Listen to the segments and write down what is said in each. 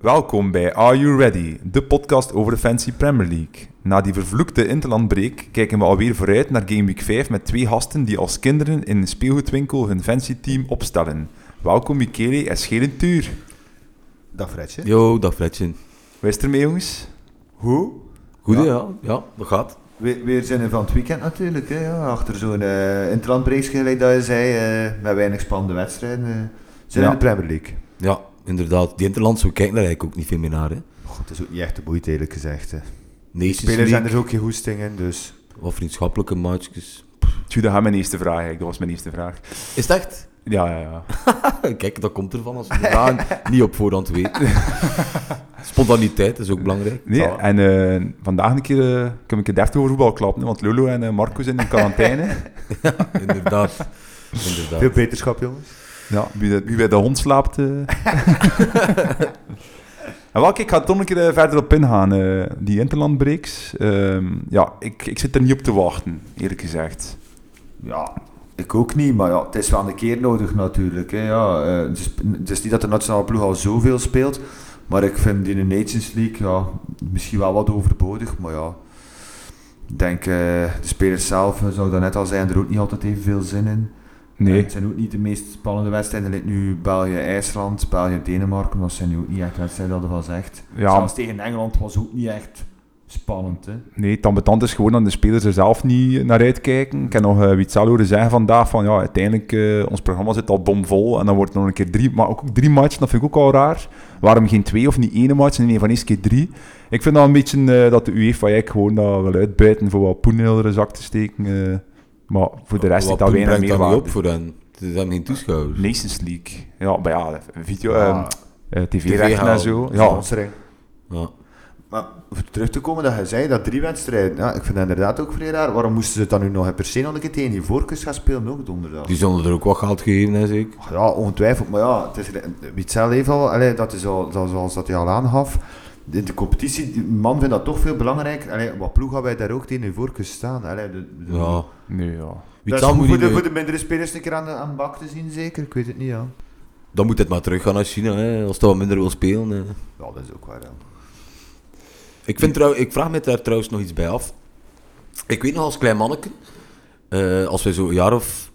Welkom bij Are You Ready, de podcast over de Fancy Premier League. Na die vervloekte interlandbreek kijken we alweer vooruit naar Game Week 5 met twee gasten die als kinderen in een speelgoedwinkel hun fancy team opstellen. Welkom Michele en Schelentuur. Dag Fredje. Yo, dag Fredje. Wees er mee jongens? Hoe? Goed Ja. hè, ja. ja, dat gaat. We, weer zijn we van het weekend natuurlijk. Hè, ja. Achter zo'n uh, interlandbreekje gelijk dat je zei, eh, met weinig spannende wedstrijden. eh, zijn Ja. we in de Premier League. Ja, inderdaad. Die Interlands, we kijken daar eigenlijk ook niet veel meer naar. Hè. God, dat is ook niet echt de boeit eerlijk gezegd. Hè. Nations Spelers zijn League, er ook geen hoesting in, dus... wat vriendschappelijke matchjes. Tjoe, dat gaat mijn eerste vraag eigenlijk. Dat was mijn eerste vraag. Is het echt? Ja, ja, ja. Kijk, dat komt ervan als we de vragen niet op voorhand weten. Spontaniteit is ook belangrijk. Nee, Voilà. en eh, vandaag een keer, eh, kunnen we een keer deftig over voetbal klappen, hè, want Lolo en eh, Marco zijn in quarantaine. Inderdaad. Veel inderdaad. beterschap, jongens. Ja, wie, de- wie bij de hond slaapt. eh. en welke, ik ga er toch een keer eh, verder op ingaan. eh, die interlandbreaks. Ehm, ja, ik, ik zit er niet op te wachten, eerlijk gezegd. Ja, ik ook niet, maar ja, het is wel een keer nodig natuurlijk. Hè, ja. Eh, het, is, het is niet dat de nationale ploeg al zoveel speelt, maar ik vind in de Nations League ja, misschien wel wat overbodig, maar ja... Ik denk, eh, de spelers zelf, eh, zou dat net al zijn, er ook niet altijd evenveel zin in. En Nee. Het zijn ook niet de meest spannende wedstrijden. Er ligt nu België-IJsland, België-Denemarken. Dat zijn nu ook niet echt wedstrijden dat ervan zegt. Ja, Zelfs tegen Engeland was ook niet echt spannend. Hè? nee, het ambetant is gewoon dat de spelers er zelf niet naar uitkijken. Ik heb nog eh Witsel horen zeggen vandaag van ja, uiteindelijk, eh, ons programma zit al bomvol. En dan wordt er nog een keer drie, maar ook drie matchen, dat vind ik ook al raar. Waarom geen twee of niet één match, nee, van eens keer drie. Ik vind dat een beetje eh, dat de UEFA eigenlijk gewoon dat wil uitbuiten voor wat poen in de zak te steken. eh. maar voor de rest is Wat dat punt weinig brengt dat niet op meerwaarde. voor hen? Ze zijn geen toeschouwers. Nations League. Ja, maar ja, Ah. video, ehm, Ja, tv-rechten en halen. zo. Ja, Sponsoring. Ja. Maar voor terug te komen dat je zei, dat drie wedstrijden. Ja, ik vind dat inderdaad ook vrij raar. Waarom moesten ze het dan nu nog in per se nog een keer tegen die voorkeurs gaan spelen? Ook donderdag. Die zullen er ook wat geld geven, hè, zeker. Ja, ongetwijfeld. Maar ja, het is, Witzel heeft al, allee, dat is al, dat, zoals dat hij al aangaf. In de competitie, die man vindt dat toch veel belangrijker. Allee, wat ploeg gaan wij daar ook tegen in voorkeurs staan? Allee, de, de- Ja. nee, ja. dat Wie Mm. is dan goed moet voor niet de, voor meer- de mindere spelers een keer aan de, aan de bak te zien, zeker? Ik weet het niet, ja. Dan moet het maar terug gaan naar China, hè, als het wat minder wil spelen. hè. Ja, dat is ook waar, ja. Ik, vind trouw, ik vraag me daar trouwens nog iets bij af. Ik weet nog als klein manneke, eh, als wij zo een jaar of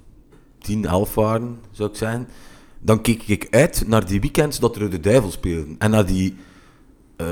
10, 11 waren, zou ik zeggen, dan keek ik uit naar die weekends dat er de duivel speelden. En naar die, eh,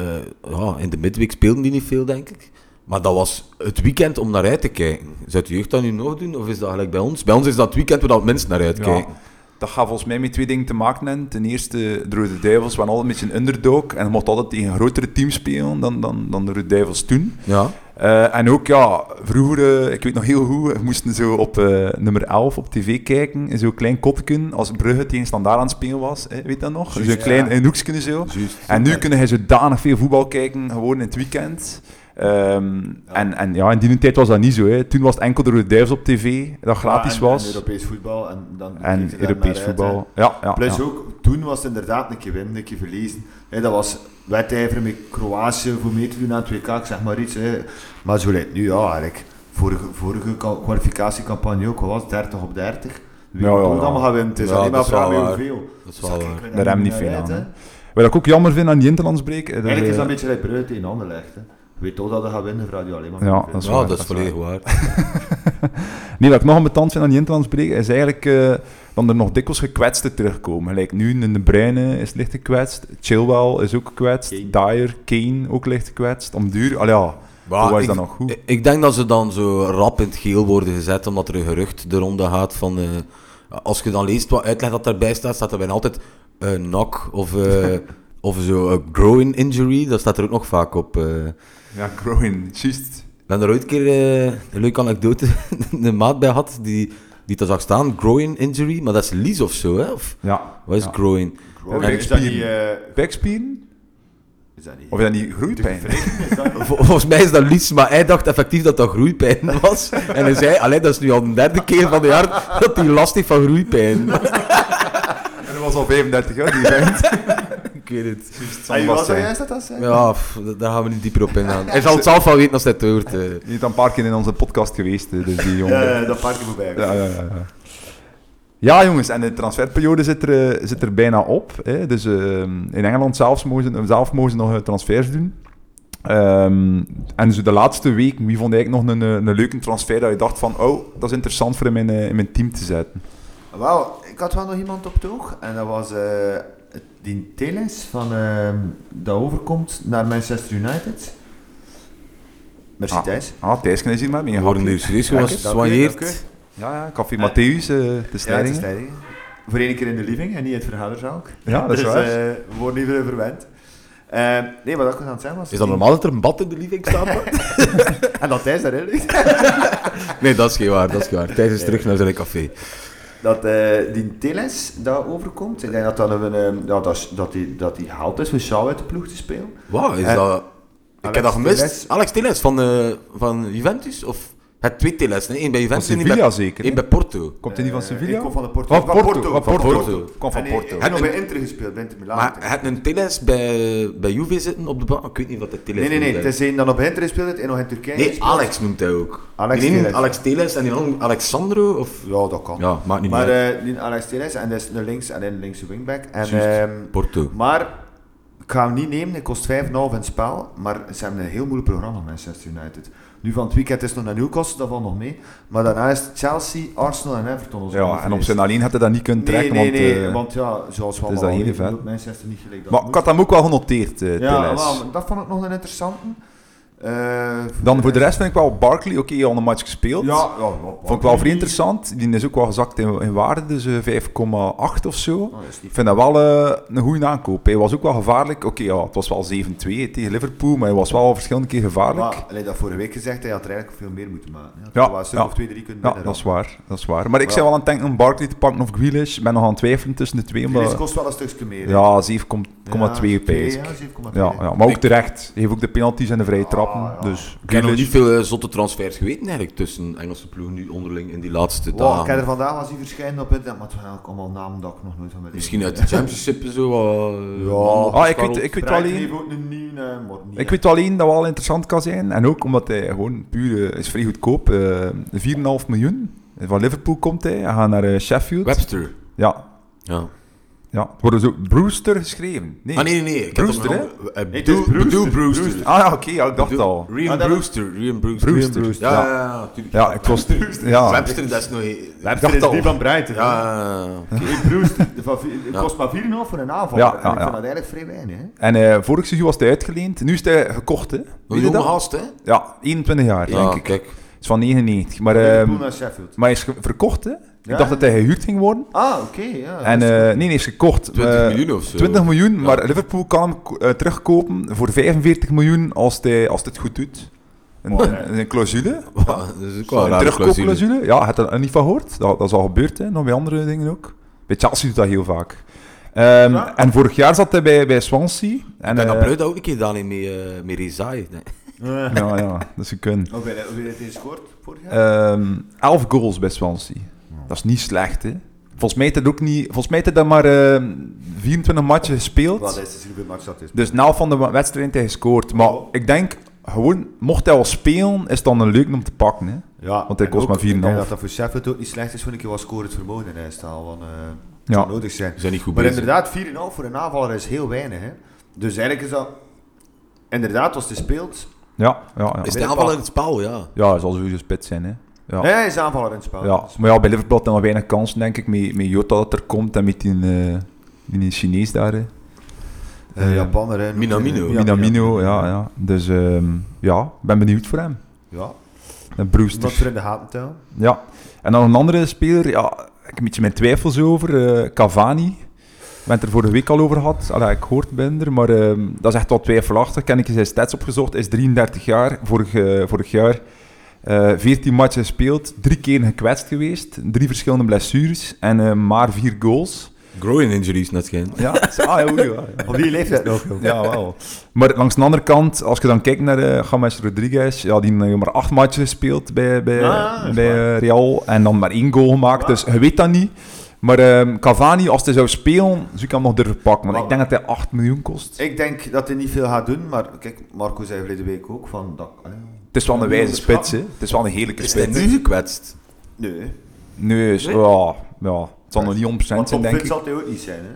ja, in de midweek speelden die niet veel, denk ik. Maar dat was het weekend om naar uit te kijken. Zou de jeugd dat nu nog doen, of is dat gelijk bij ons? Bij ons is dat het weekend waar we het minst naar uitkijken. Ja, dat gaat volgens mij met twee dingen te maken hebben. Ten eerste, de Rode Duivels waren altijd een beetje een underdog en mocht altijd tegen een grotere team spelen dan, dan, dan de Rode Duivels toen. Ja. Eh, en ook, ja, vroeger, eh, ik weet nog heel goed, we moesten zo op eh, nummer 11 op tv kijken, in zo'n klein kopje, als Brugge tegen Standaard aan het spelen was, eh, weet dat nog? Zo'n Juist, ja. klein in hoekje zo. Juist. En nu kunnen hij zodanig veel voetbal kijken, gewoon in het weekend. Ehm, En, en ja, in die tijd was dat niet zo. Hè. Toen was het enkel de Rode Duivels op tv, dat gratis Ja, en- was. En Europees voetbal. En, dan En keek je daar naar Europees uit, voetbal. hè. ja, ja, Plus ja. ook, toen was het inderdaad een keer winnen, een keer verliezen. Hè, dat was wedijver met Kroatië voor mee te doen aan het WK, ik zeg maar iets. hè. Maar zo lijkt nu, ja, eigenlijk. Vorige, vorige kwa- kwalificatiecampagne ook, wat was het? 30 op 30. Wie Ja, ja, moet ja. allemaal gaan winnen? Het is Ja, alleen maar dat is wel vragen bij waar. hoeveel. Dat is Dus dan wel waar. kijken we Daar hebben we naar niet veel uit, aan, hè. hè. Wat ik ook jammer vind aan die interlandsbreek... eh, dat, Eigenlijk is dat eh, een beetje like Bruyne tegen Anderlecht. hè. Je weet toch dat hij gaat winnen, vraag je alleen maar. Ja, hoeveel. dat is Ja, waar, dat dat is is volledig waar. Nee, wat ik nog ambetant vind aan die interlandsbreek, is eigenlijk eh dat er nog dikwijls gekwetsten terugkomen. Gelijk nu in de Bruyne is licht gekwetst, Chilwell is ook gekwetst, Kane. Dyer, Kane ook licht gekwetst. Om duur, al ja, Maar Hoe was ik- dat eh, nog goed? ik- Ik denk dat ze dan zo rap in het geel worden gezet, omdat er een gerucht de ronde gaat van... eh, als je dan leest wat uitleg dat daarbij staat, staat er bijna altijd een knock of, eh, of zo een growing injury. Dat staat er ook nog vaak op. eh. ja, growing, juist. Ik ben er ooit een keer eh, een leuke anekdote, een maat bij had die, die dat zag staan, growing injury. Maar dat is lies of zo, hè? Of, Ja. wat is Ja. growing? Groningen, En Is dat niet... Spieren. eh, Bekspieren? Is dat niet... Of is dat niet groeipijn? Vol- volgens mij is dat lies, maar hij dacht effectief dat dat groeipijn was. En hij zei, allee, dat is nu al de derde keer van het jaar dat hij last heeft van groeipijn. En dat was al 35 jaar, die vent. Ik weet het. Juist, Ah, zal je vast was er zijn. juist dat dat zei? Ja, pff, da- daar gaan we niet dieper op ingaan. Hij zal het zelf wel weten als hij het hoort. eh. Die is al een paar keer in onze podcast geweest, eh, dus die jongen. Ja, ja, dat parkje voorbij. Ja, ja, ja, ja. Ja, jongens, en de transferperiode zit er, eh, zit er bijna op. Hè? Dus eh, in Engeland zelfs mogen, ze- zelf mogen ze nog eh, transfers doen. Ehm, en zo de laatste week, wie vond eigenlijk nog een, eh, een leuke transfer dat je dacht van, oh, dat is interessant voor hem in, eh, in mijn team te zetten. Wel, ik had wel nog iemand op het oog. En dat was eh, die Teles van eh, dat overkomt naar Manchester United. Merci Ah. Thijs. Ah, Thijsken is hier maar mee. We worden hier serieus Dank gewas- u, dank u, gezwanjeerd. dank u. Ja, ja, Café Matthäus, eh de Ja, het is Stijlingen. Teylingen. Voor één keer in de living en niet in het vergaderzaal. Ja, dat is dus, waar. eh, we worden even verwend. Eh, nee, wat ik was aan het zeggen was... Is dat normaal dat er een bad in de living staat? En dat Thijs daarin ligt. nee, dat is geen waar, dat is geen waar. Thijs is terug naar zijn café. dat eh, die Teles daar overkomt. Ik denk dat dat een, eh, ja, dat, is- dat die, dat die haalt is voor Saal uit de ploeg te spelen. Wauw, is Eh, dat... Ik Alex heb dat gemist. Telles. Alex Teles van, eh, van Juventus? Of het twee Teles? Nee, één bij Juventus en één bij, Sevilla zeker, één hè? bij Porto. Komt hij niet van Eh, Sevilla? Ik kom van de Porto. Van Porto. Van Van Porto. Porto. Kom van En hij- Porto. Hij heeft nog En- bij Inter gespeeld, bij Inter Milan. Maar het een Teles bij, bij Juve zitten op de bank? Ik weet niet wat de Teles nee, nee, nee. moet Het zijn. is één dat op bij Inter gespeeld heeft en nog in Turkije Nee, ah. gespeeld. Alex noemt hij ook. Alex Die ene Telles. Alex Teles en die andere Alexandro? Of... Ja, dat kan. Ja, maakt niet Maar meer uit. eh, die Alex Teles, en dat is een links- en een linkse wingback. En, Juist. ehm, Porto. Maar ik ga hem niet nemen, hij kost 5,5 in het spel. Maar ze hebben een heel moeilijk programma, Manchester United. Nu van het weekend is het nog naar Newcastle, dat valt nog mee. Maar daarna is het Chelsea, Arsenal en Everton. als Ja, en op zijn alleen had hij dat niet kunnen Nee, trekken, nee, want... nee, eh, want ja, zoals we het is allemaal dat hele weten, vet. doet Manchester niet gelijk dat maar moet. ik had hem ook wel genoteerd, eh Ja, Telles. wel, maar dat vond ik nog een interessante. Eh, Dan voor de rest vind ik wel Barkley, oké, al een match gespeeld. Ja, ja, ja, Vond ik wel vrij interessant. Die is ook wel gezakt in, in waarde, dus eh, 5,8 of zo. Oh, dat is niet Ik vind dat wel eh, een goede aankoop. Hij was ook wel gevaarlijk. Oké, ja, het was wel 7-2 tegen Liverpool, maar hij was wel verschillende keer gevaarlijk. Maar, allee, dat vorige week gezegd, hij had er eigenlijk veel meer moeten maken. hè. Ah, Hij had Ja, er wel een stuk ja. of twee, drie kunnen Ja, binnen dat is waar. Dat is waar. Maar ik Ja. zou wel aan het denken om Barkley te pakken of Grealish. Ik ben nog aan het twijfelen tussen de twee. Grealish Maar, kost wel een stukje meer. hè. ja, 7,2 Ja, pijs. Ja, ik. 7,2. Ja, ja, maar ook terecht. Hij heeft ook de penalties en de vrije trappen. Ah, ja. Dus Ik heb nog Grealish- niet veel eh, zotte transfers geweten eigenlijk tussen Engelse ploegen nu onderling in die laatste Wow, ik dagen. heb er vandaag was die verschijnen op internet, maar het waren eigenlijk allemaal namen dat ik nog nooit van mijn Misschien uit de championship en zo. wat, eh, Ja. Ah, ik weet, ik weet wel alleen... ook een nieuwe, eh, maar niet, Ik hè. weet alleen dat wel interessant kan zijn. En ook omdat hij gewoon puur eh, is vrij goedkoop. eh 4,5 miljoen. Van Liverpool komt hij. Hij gaat naar eh, Sheffield. Webster. Ja. Ja. ja. Het wordt dus ook Brewster geschreven. Nee. Ah nee, nee, nee. Ik Brewster, heb hè? het nog- eh, Nee, het Bedoel- is Brewster. bedoel Brewster. Brewster. Ah ja, oké. ja, ik dacht het al. Ream Ah, dat- Brewster. Ream Brewster. Brewster. Ream Ja, ja, ja. natuurlijk. Ja, ik was... Ja. Webster, dat is nog... Ja, dacht Webster is al. die van Breiten. ja, ja. Die Brewster, de van vi- het Ja. kost maar 4,5 voor een aanval. Ja, en ja, ik ja. vind dat eigenlijk vrij weinig. Hè? En eh, vorig seizoen was hij uitgeleend. Nu is hij gekocht, hè. Een Weet je jonge dat? gast, hè? Ja, 21 jaar, denk Ja, ik. kijk. Het is van 99. Maar, Liverpool ehm, naar Sheffield. maar hij is ge- verkocht, hè. Ja. Ik dacht dat hij gehuurd ging worden. Ah, oké. ja, En, dat eh, is- nee, nee, hij is gekocht. 20 eh, miljoen of zo. 20 miljoen, Ja. maar Liverpool kan hem ko- eh, terugkopen voor 45 miljoen als hij als het goed doet. Een, Wow. een, een clausule. Dat is ook wel Een een rare clausule. terugkoopclausule. Ja, heb je er niet van gehoord? Dat, dat is al gebeurd, hè. nog bij andere dingen ook. Bij Chelsea doet dat heel vaak. Ehm, Ja. En vorig jaar zat hij bij, bij Swansea. En, En dat eh, bruid dat ook een keer gedaan heeft met, eh, met Rezai. Nee. Eh. ja, ja, dat is een kun. Hoeveel hoeveel heeft hij gescoord vorig jaar? Ehm 11 goals bij Swansea. Dat is niet slecht, hè. Volgens mij heeft hij ook niet... Volgens mij heeft hij dan maar ehm, 24 matchen gespeeld. Wat is het hoeveel match dat is? Dus na van de wa- wedstrijd heeft hij gescoord. Maar Oh. ik denk, gewoon, mocht hij al spelen, is het dan een leuk om te pakken. Hè? Ja, Want hij kost en maar ook, Ik 4,5. denk dat dat voor Sheffield ook niet slecht is, want ik was scoren het vermogen in huis te halen, want, eh, Ja. zou nodig zijn. Ze zijn niet goed Maar bezig. inderdaad, 4,5 voor een aanvaller is heel weinig. Hè? Dus eigenlijk is dat... Inderdaad, als hij speelt... Ja, ja, ja. Is de aanval in het spel, ja. Ja, hij zal sowieso spits zijn. Hè? Ja. Nee, hij is aanvaller in het spel. Ja. Maar ja, bij Liverpool had hij nog weinig kansen, denk ik. Met, met Jota dat er komt en met die, eh, die Chinees daar. Hè? Eh, Japaner, hè. Minamino. Ja, Minamino, ja, ja. Dus ehm, ja, ik ben benieuwd voor hem. Ja. En dus. Wat voor Brewster. in de gaten tellen. Ja. En dan een andere speler, ja, ik heb een beetje mijn twijfels over. eh Cavani. Ik ben het er vorige week al over gehad. Allee, ik hoort ben er, maar ehm, dat is echt wel twijfelachtig. Ken ik zijn stats opgezocht. Hij is 33 jaar. Vorig, eh, vorig jaar eh 14 matchen gespeeld. Drie keer gekwetst geweest. Drie verschillende blessures. En eh, maar vier goals. Growing injuries, net geen. Ja, dat is- ah, ja, oei, ja, ja. Op die leeftijd nog, joh. Ja, wel. Maar langs de andere kant, als je dan kijkt naar eh James Rodriguez, ja, die heeft maar acht matchen gespeeld bij, bij, Ah, ja, dat is bij waar. Ah. eh, Real en dan maar één goal gemaakt, Ja. dus je weet dat niet. Maar ehm, Cavani, als hij zou spelen, zou ik hem nog durven pakken, want Maar- ik denk dat hij 8 miljoen kost. Ik denk dat hij niet veel gaat doen, maar kijk, Marco zei verleden week ook van... Dat, eh, allee, Het is wel een Ja, wijze onderschat. spits, hè. Het is wel een heerlijke Is hij spits. nu gekwetst? nee. Nee, is- ja, ja. zal nog niet 100% Want zijn, Tom denk Fit ik. zal het ook niet zijn, hè?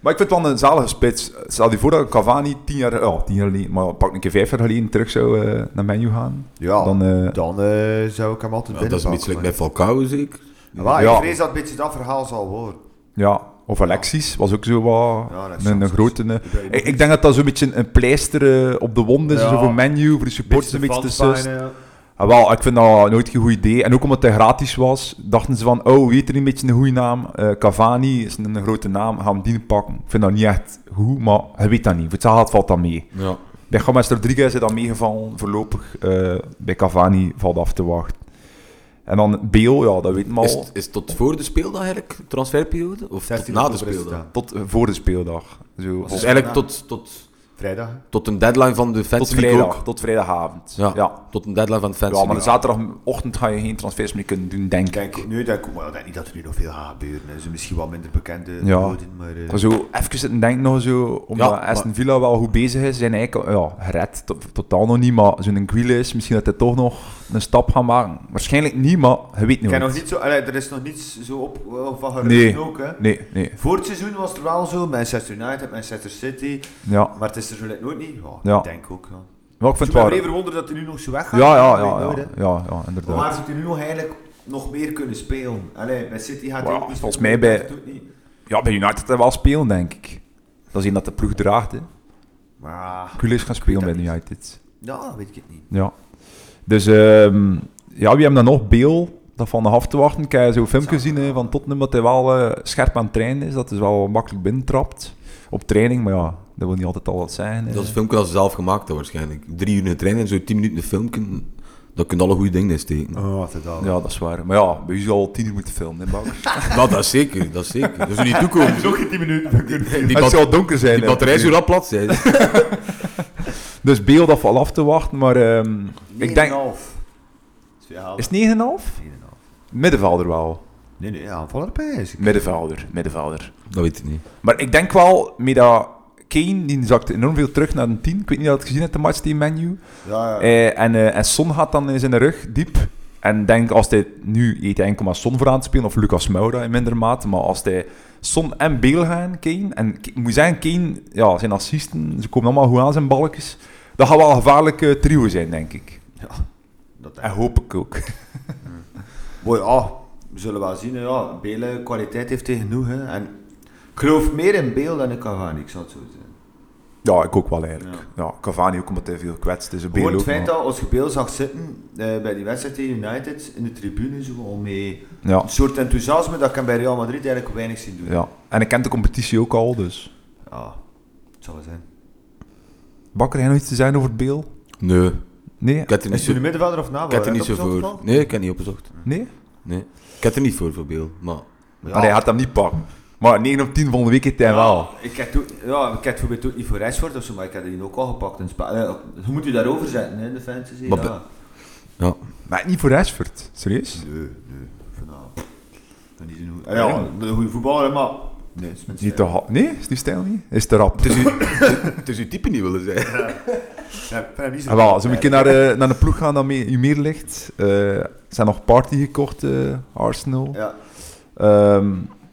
Maar ik vind het wel een zalige spits. Stel je voor dat Cavani tien jaar, oh, tien jaar geleden, maar pak een keer vijf jaar geleden terug zou eh, naar menu gaan. Ja, Dan, dan, eh, eh, zou ik hem altijd Ja, dat is een beetje like bij binnenpakken. Falcao, zeker. Maar Ja. ik vrees dat het een beetje dat verhaal zal worden. Ja, of Alexis was ook zo wat Ja, Alexis. een, een grote... eh, ben je ik, ik denk dat dat zo'n beetje een pleister eh, op de wond is, Ja. zo voor menu, voor de supporters een beetje te fans sus. bijna, ja. Ah, wel, ik vind dat nooit een goed idee. En ook omdat hij gratis was, dachten ze van, oh, weet er een beetje een goede naam. Eh, Cavani is een, een grote naam, gaan we die pakken. Ik vind dat niet echt goed, maar hij weet dat niet. Voor het geld valt dat mee. Ja. Bij James Rodriguez is dat meegevallen voorlopig. eh, bij Cavani valt af te wachten. En dan Beel, ja, dat weet men al. Is, het- is het tot voor de speeldag eigenlijk, transferperiode? Of tot 16 na de oktober is het speeldag? dan. Tot eh, voor de speeldag. Zo, Was Dus tot, het- eigenlijk tot, tot, Vrijdag. tot een deadline van de tot fans League vrijdag, ook. tot vrijdagavond. Ja, Ja. ja. tot een deadline van de fans maar League. zaterdagochtend ga je geen transfers meer kunnen doen, denk ik. Kijk, nu denk ik, maar ik denk niet dat er nu nog veel gaat gebeuren. hè. Ze misschien wel minder bekende Ja. noden, maar... eh, Ik ga zo even zitten denken nog zo, omdat Ja, Aston Villa wel goed bezig is, zijn eigenlijk ja, gered, to- totaal nog niet, maar zo'n Grealish, is, misschien dat hij toch nog een stap gaat maken. Waarschijnlijk niet, maar je weet ik nooit. ken nog niet zo, allee, er is nog niets zo op wel van gerucht Nee. ook, hè. Nee, nee, Voor het seizoen was het er wel zo, Manchester United, Manchester City, ja. maar het is er zo net nooit niet. Ja, Ja. Ik denk ook, ja. Maar ik vind Het het is wel... even wonder dat hij nu nog zo weggaat. Ja, ja, Ik weet ja, ja, nooit, hè. ja, ja, ja, Maar inderdaad. waar zou hij nu nog eigenlijk nog meer kunnen spelen? Allee, bij City gaat hij Wow, ook niet volgens spelen, mij bij- dat doet niet. Ja, bij United gaat hij wel spelen, denk ik. Dat is één dat de ploeg draagt, hè. Maar... Grealish gaat spelen bij dat niet. United. Ja, weet ik het niet. Ja. Dus, ehm, ja, wie hebben dan nog? Beel, dat van de af te wachten. Ik heb zo'n filmpje gezien eh, van Tottenham, dat hij wel eh, scherp aan het trainen is. Dat is wel makkelijk binnentrapt. Op training, maar ja, dat wil niet altijd al wat zijn. eh. Dat is een filmpje dat ze zelf gemaakt hebben waarschijnlijk. Drie uur trainen en zo tien minuten een filmpje. Dat kunnen alle goede dingen in steken. Oh, wat het al. Ja, dat is waar. Maar ja, bij u zal tien uur moeten filmen, hè, Bouwers. Maar dat is zeker, dat is zeker. Dat is er niet toekomen. Nog geen 10 minuten. Die, Het bat- zal donker zijn. die hè, batterij is zo opnieuw. rap plat zijn. Dus Beel, dat valt af te wachten, maar ehm, ik denk... 2,5. 2,5. Is het 9,5? Middenvelder wel. Nee, nee, aanvaller bij. Middenvelder, middenvelder. Dat weet ik niet. Maar ik denk wel, met dat Kane, die zakte enorm veel terug naar een 10. Ik weet niet of je het gezien hebt, de match tegen menu. Ja, ja. Eh, en, eh, en Son gaat dan in zijn rug, diep. En denk, als hij nu E eet enkel maar Son voor aan te spelen, of Lucas Moura in minder mate, maar als hij Son en Beel gaan, Kane, en K- ik moet zeggen, Kane, ja, zijn assisten, ze komen allemaal goed aan zijn balkjes. Dat gaat wel een gevaarlijke trio zijn, denk ik. Dat denk En ik. hoop ik ook. Mooi, ja. We zullen wel zien. hè, Ja, Bele kwaliteit heeft hij genoeg. Hè. En ik geloof meer in Beel dan in Cavani, ik zal het zo zeggen. Ja, ik ook wel eigenlijk. Ja, Cavani ook omdat hij veel kwetst, dus een Beel Gewoon het ook. feit maar- dat als je Beel zag zitten eh, bij die wedstrijd tegen United in de tribune, zo al mee Ja, een soort enthousiasme dat ik hem bij Real Madrid eigenlijk weinig zien doen. ja. En ik ken de competitie ook al, dus... Ja, het zal wel zijn. Bakker, jij nog iets te zijn over Beel? Nee, Nee? ik had er niet Is hij zo, een middenvelder of ik naval? had er niet zo voor. Nee, ik heb niet opgezocht. Nee? Nee. Ik had er niet voor, voor Beel. Maar Maar hij had hem niet pakken. Maar 9 op 10 van de week heeft hij wel. Ik heb toen, ja, ik heb bijvoorbeeld ook niet voor Rashford of zo, maar ik heb die ook al gepakt in Spa- eh, Je moet je daarover zetten, hè, de fantasy. Maar ja. ja. Maar niet voor Rashford. Serieus? Nee, nee, vanavond. Dat is niet een goeie- Ah, ja, een goede voetballer, maar... Nee, het is mijn Niet te stijl. hard. Nee, is die stijl niet? Is te rap. het, is uw, het is uw type niet willen zijn. Ja, ik vind hem niet zo Ah, wel, zullen we goed. een keer naar, de naar een ploeg gaan dat mee, u meer ligt? Eh, Er zijn nog party gekocht, eh, Arsenal. Ja, Ehm,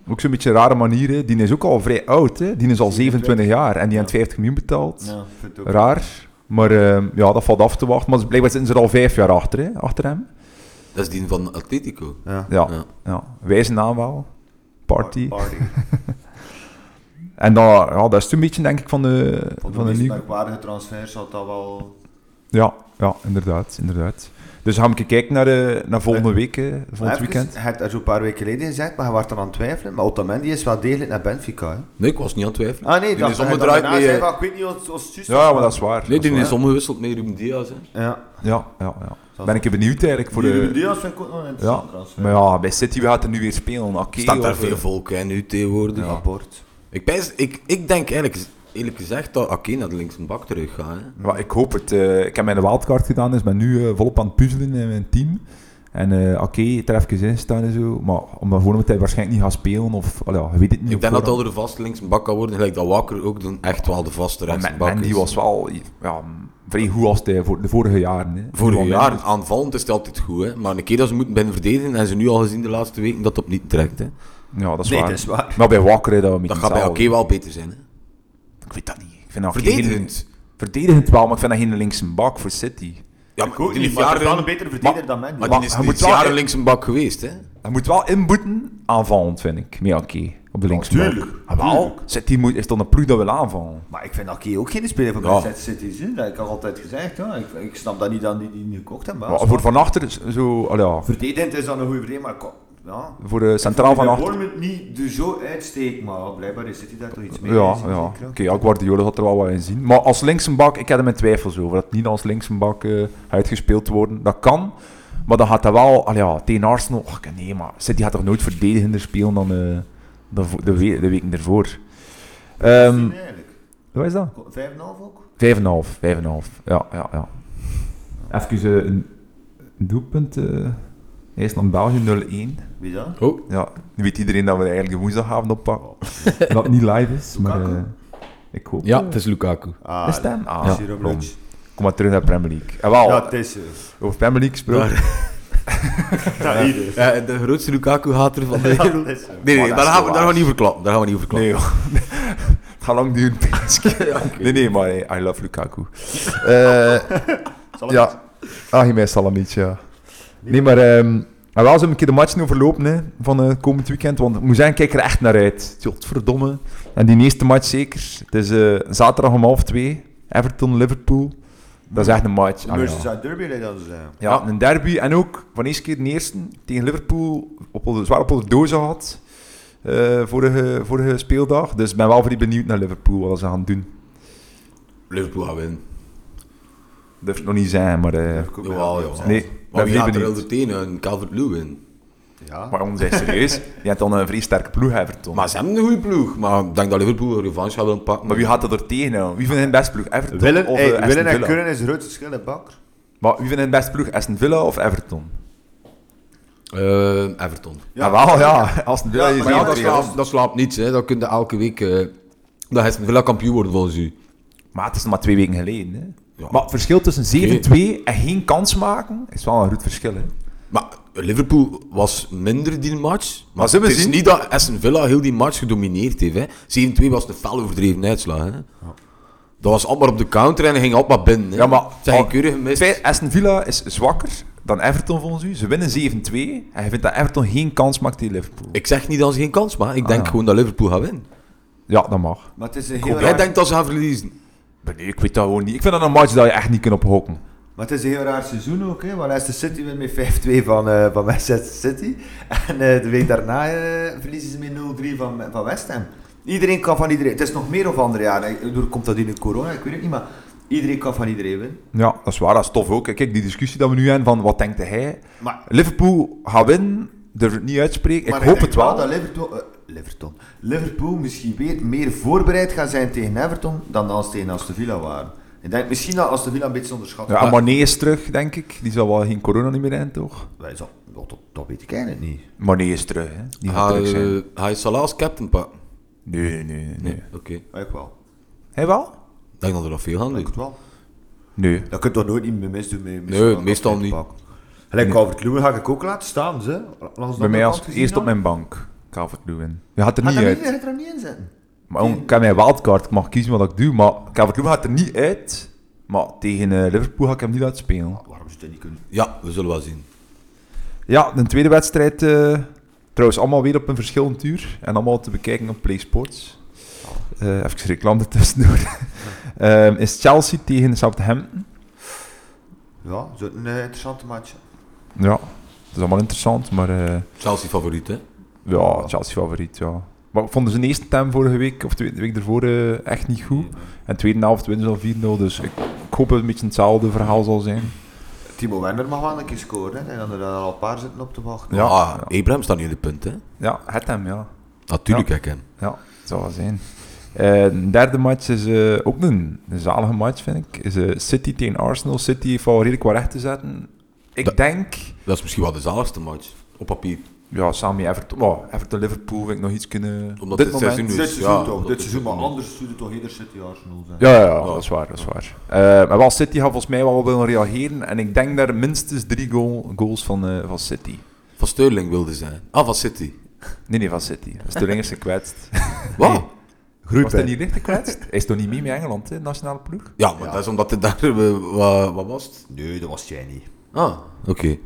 ook zo'n beetje een rare manier. hè. Die is ook al vrij oud. Hè? Die is al 27 jaar en die heeft 50 miljoen betaald. ja, ik vind het ook. Raar. Maar ehm, ja, dat valt af te wachten. Maar blijkbaar zitten ze er al vijf jaar achter, hè? achter hem. Dat is die van Atletico. Ja. Ja, ja. Ja. wijze naam wel. Party. Party. En dat, ja, dat is toen een beetje, denk ik, van de, Van de van de meest nieuwe... merkwaardige transfers zal dat wel... Ja, ja, inderdaad, inderdaad. Dus gaan we een keer kijken naar, eh, naar volgende week, eh, volgend Even, weekend. Je hebt er zo'n paar weken geleden gezegd, maar je was er aan het twijfelen. Maar Otamendi is wel degelijk naar Benfica, hè? Nee, ik was niet aan het twijfelen. Ah nee, die dat is dat je omgedraaid daarna met, zei eh, van, Ik weet niet of of het juist Ja, maar dat is waar. Nee, dat die is is waar. omgewisseld met Ruben Diaz. Hè. Ja. Ja, ja, ja. Ben ik benieuwd eigenlijk voor Die Ruben de... Diaz vind ik ook nog een eh, Ja, interessant transfer. maar ja, bij City we gaat er nu weer spelen. Oké, Staat daar of, veel eh, volk hè, nu tegenwoordig. Rapport. Ik, pijs, ik, ik denk eigenlijk, eerlijk gezegd dat Ake naar de linkse bak terug gaat. Hè. maar ik hoop het. eh, ik heb mijn wildcard gedaan, dus ben nu eh, volop aan het puzzelen in mijn team. En eh, oké, het er even in staan en zo. Maar omdat gewoon omdat hij waarschijnlijk niet gaat spelen of... allee, ja, je weet het niet Ik op denk dat voorhand. dat er een vaste linkse bak kan worden, gelijk dat Wakker ook doen, echt wel de vaste Maar rechtse Men- bak Mendy is. was wel ja, vrij goed als hij voor de vorige jaren. Hè. Vorig Wel jaar, minder. aanvallend is het altijd goed, hè. maar een keer dat ze moeten binnen verdedigen, hebben ze nu al gezien de laatste weken dat het op niet trekt. Hè. Ja, dat is nee, waar. dat is waar. Maar bij Wakker dat we met Dat iets gaat bij houden. oké wel beter zijn. Hè? Ik weet dat niet. Ik vind dat geen- Verdedigend. Verdedigend wel, maar ik vind dat geen linkse bak voor City. Ja, Ik ook die niet, is maar het is wel jaren- een betere verdediger dan mij. Maar Maar die is, hij die moet is wel- jaren links een bak geweest, hè? Hij moet wel inboeten, aanvallend vind ik. Maar ja, oké. Op de links. tuurlijk, Wel, tuurlijk. City moet, is dan een ploeg dat wil aanvallen. Maar ik vind Aki ook geen speler van Ja. Manchester City. hè. Dat heb ik al altijd gezegd. Ja. Ik, ik snap dat niet dat die die niet gekocht hebben. Maar voor van achter, is zo, al ja, Verdedigend is dan een goede verdediger, maar ko- ja. voor de centraal van achter. Bournemouth niet er zo uitsteekt, maar blijkbaar is City daar toch iets mee. Ja, bezig, ja. zeker, Oké, ja, Guardiola had er wel wat in zien. Maar als linksenbak, ik heb er mijn twijfels over. Dat niet als linksenbak eh, uitgespeeld worden. Dat kan. Maar dan gaat dat wel... Al ja, tegen Arsenal... och, nee, maar City gaat toch nooit verdedigender spelen dan eh, dan vo- de, we- de weken ervoor. Wat is Ehm die eigenlijk? wat is dat? Ko- 5,5 ook? 5,5, 5,5. Ja, ja, ja. Even eh, een een doelpunt. eh. eerst naar België 0-1. Wie dat? Oh. Ja, nu weet iedereen dat we eigenlijk woensdagavond oppakken. dat het niet live is, maar Lukaku. eh, ik hoop... Ja, het is Lukaku. Ah, Is het hem? Ah, Ja. ja. Oh. Kom. Kom maar terug naar Premier League. En wel, Ja, het is er. over Premier League gesproken. Ja, hier is. Ja, de grootste Lukaku-hater van de Ja, wereld. het is er. Nee, nee, Maar dat daar, is gaan we, niet daar gaan waar. we niet over klappen. Daar gaan we niet over klappen. Nee, joh. Het gaat lang duren. Nee, nee, maar hey, I love Lukaku. Eh Zal ik ja, Ah, Ahimé Salamic, ja. Nee, maar ehm en wel zo een keer de matchen overlopen hè, van eh, komend weekend. Want ik moet zeggen, ik kijk er echt naar uit. Godverdomme. En die eerste match zeker. Het is eh, zaterdag om half twee. Everton-Liverpool. Dat is echt een match. De Ah, ja. Merseyside Derby, eh, lijkt dat te zijn. Ja, een derby. En ook van eerste keer de eerste tegen Liverpool op de, zwaar op de dozen had. eh, vorige, vorige speeldag. Dus ik ben wel vrij benieuwd naar Liverpool wat ze gaan doen. Liverpool gaat winnen. Durf het nog niet zijn, maar. eh, Durf ik ook Jawel, wel. jawel. nee, ben Maar wie vrij gaat er benieuwd. onder tenen? Een Calvert-Lewin. Ja. Maar om zijn serieus, je hebt dan een vrij sterke ploeg, Everton. Maar Maar, ze hebben een goede ploeg. Maar ik denk dat Liverpool een revanche gaat willen pakken. wie gaat dat er tegen? nou? Wie vindt hun beste ploeg? Everton Willen, of hey, eh, Aston willen en Villa? kunnen is een groot verschil, hè, Bakker. Maar wie vindt hun beste ploeg? Aston Villa of Everton? Eh, Everton. Ja, wel, ja. Aston Villa Ja, is maar Maar ja, niet dat, twee, hè. slaapt, dat slaapt niets. Hè. Dat kun je elke week... eh dat is een Villa kampioen worden volgens u. Maar het is nog maar twee weken geleden. Hè. Ja. Maar het verschil tussen 7-2 en geen kans maken is wel een groot verschil. Hè. Maar Liverpool was minder die match. Maar, zullen we het is zien? niet dat Aston Villa heel die match gedomineerd heeft. hè. 7-2 was de fel overdreven uitslag. Hè. Dat was allemaal op de counter en hij ging allemaal binnen. Hè. Ja, maar- Oh, Zijn geen maar- keurig gemist. Feit, Aston Villa is zwakker dan Everton volgens u. Ze winnen 7-2. En je vindt dat Everton geen kans maakt tegen Liverpool. Ik zeg niet dat ze geen kans maken. Ik denk ja. gewoon dat Liverpool gaat winnen. Ja, dat mag. Maar het is een heel Jij raar- denkt dat ze gaan verliezen. Maar nee, ik weet dat gewoon niet. Ik vind dat een match dat je echt niet kunt ophokken. Maar het is een heel raar seizoen ook, hè? want Leicester City wint met 5-2 van, eh van Manchester City. En eh, de week daarna eh, verliezen ze met 0-3 van, van West Ham. Iedereen kan van iedereen. Het is nog meer of andere jaren. Door komt dat in de corona, ik weet het niet, maar iedereen kan van iedereen winnen. Ja, dat is waar. Dat is tof ook. Kijk, die discussie dat we nu hebben van wat denkt hij. Maar, Liverpool gaat winnen. Durf het niet uitspreken. maar ik hoop denk het wel. dat Liverpool, eh, Liverpool, Liverpool misschien weer meer voorbereid gaan zijn tegen Everton dan als tegen Aston Villa waren. Ik denk misschien dat Aston Villa een beetje onderschat Ja, en Mané is terug, denk ik. Die zal wel geen corona niet meer hebben, toch? Wij zo- Dat, dat, dat weet ik eigenlijk niet. Mané is terug, hè. Die gaat Ga terug zijn. je, ga je Salah als captain pakken? Nee, nee, nee. nee. Nee, oké. Ik Maar ik wel. Hij wel? denk dat er nog veel gaan Ik doen. het wel. Nee. Dat kun je toch nooit niet meer misdoen? Mee, Nee, meestal niet. Gelijk Calvert-Lewin ga ik ook laten staan, ze. Langs de Bij mij andere als kant eerst gezien op mijn bank. Calvert-Lewin. Je had er dan. niet Gaat uit. er niet, gaat er niet in zitten? Maar ik heb mijn wildcard, ik mag kiezen wat ik doe. Maar Calvert-Lewin gaat er niet uit. Maar tegen eh, Liverpool ga ik hem niet laten spelen. Waarom zou je dat niet kunnen? Ja, we zullen wel zien. Ja, de tweede wedstrijd. eh, trouwens, allemaal weer op een verschillend uur. En allemaal te bekijken op PlaySports. Eh even reclame ertussendoor. Ehm, is Chelsea tegen Southampton. Ja, zo'n een eh, interessante match. Ja, dat is allemaal interessant. Maar eh, Chelsea favoriet, hè? ja, Chelsea favoriet, ja. Maar ik vond ze eerste time vorige week, of tweede week ervoor, eh, echt niet goed. En tweede helft winnen ze al 4-0. Dus ik, ik hoop dat het een beetje hetzelfde verhaal zal zijn. Timo Werner mag wel een keer scoren, hè. En dan er al een paar zitten op te wachten. Ja. Ja. Ah, Abraham staat nu in de punt, hè? Ja, het hem, ja. Natuurlijk, ja. ik hem. Ja, het zal wel zijn. Eh, een derde match is eh, ook een, een zalige match, vind ik. Is eh, City tegen Arsenal. City heeft al redelijk wat recht te zetten. Ik Dat- denk... Dat is misschien wel de zaligste match op papier. Ja, samen met Everton. Oh, Everton-Liverpool vind ik nog iets kunnen... Omdat dit dit moment... seizoen- Dit Dus, seizoen ja, toch, dat dit is seizoen, het maar niet. anders doet het toch ieder City Arsenal zijn. Ja, ja, Oh. ja, dat is waar, dat is waar. Eh, maar wel, City gaat volgens mij wel willen reageren. En ik denk daar minstens drie goal- goals van, eh, van City. Van Sterling wilde zijn. Ah, van City. Nee, nee, van City. Dat is door Engels gekwetst. Wat? Nee. Was Groepen. dat niet echt gekwetst? Hij is toch niet mee met Engeland, hè, nationale ploeg? Ja, maar dat is omdat het daar... eh, wa- wat was het? Nee, dat was jij niet. Ah, oké.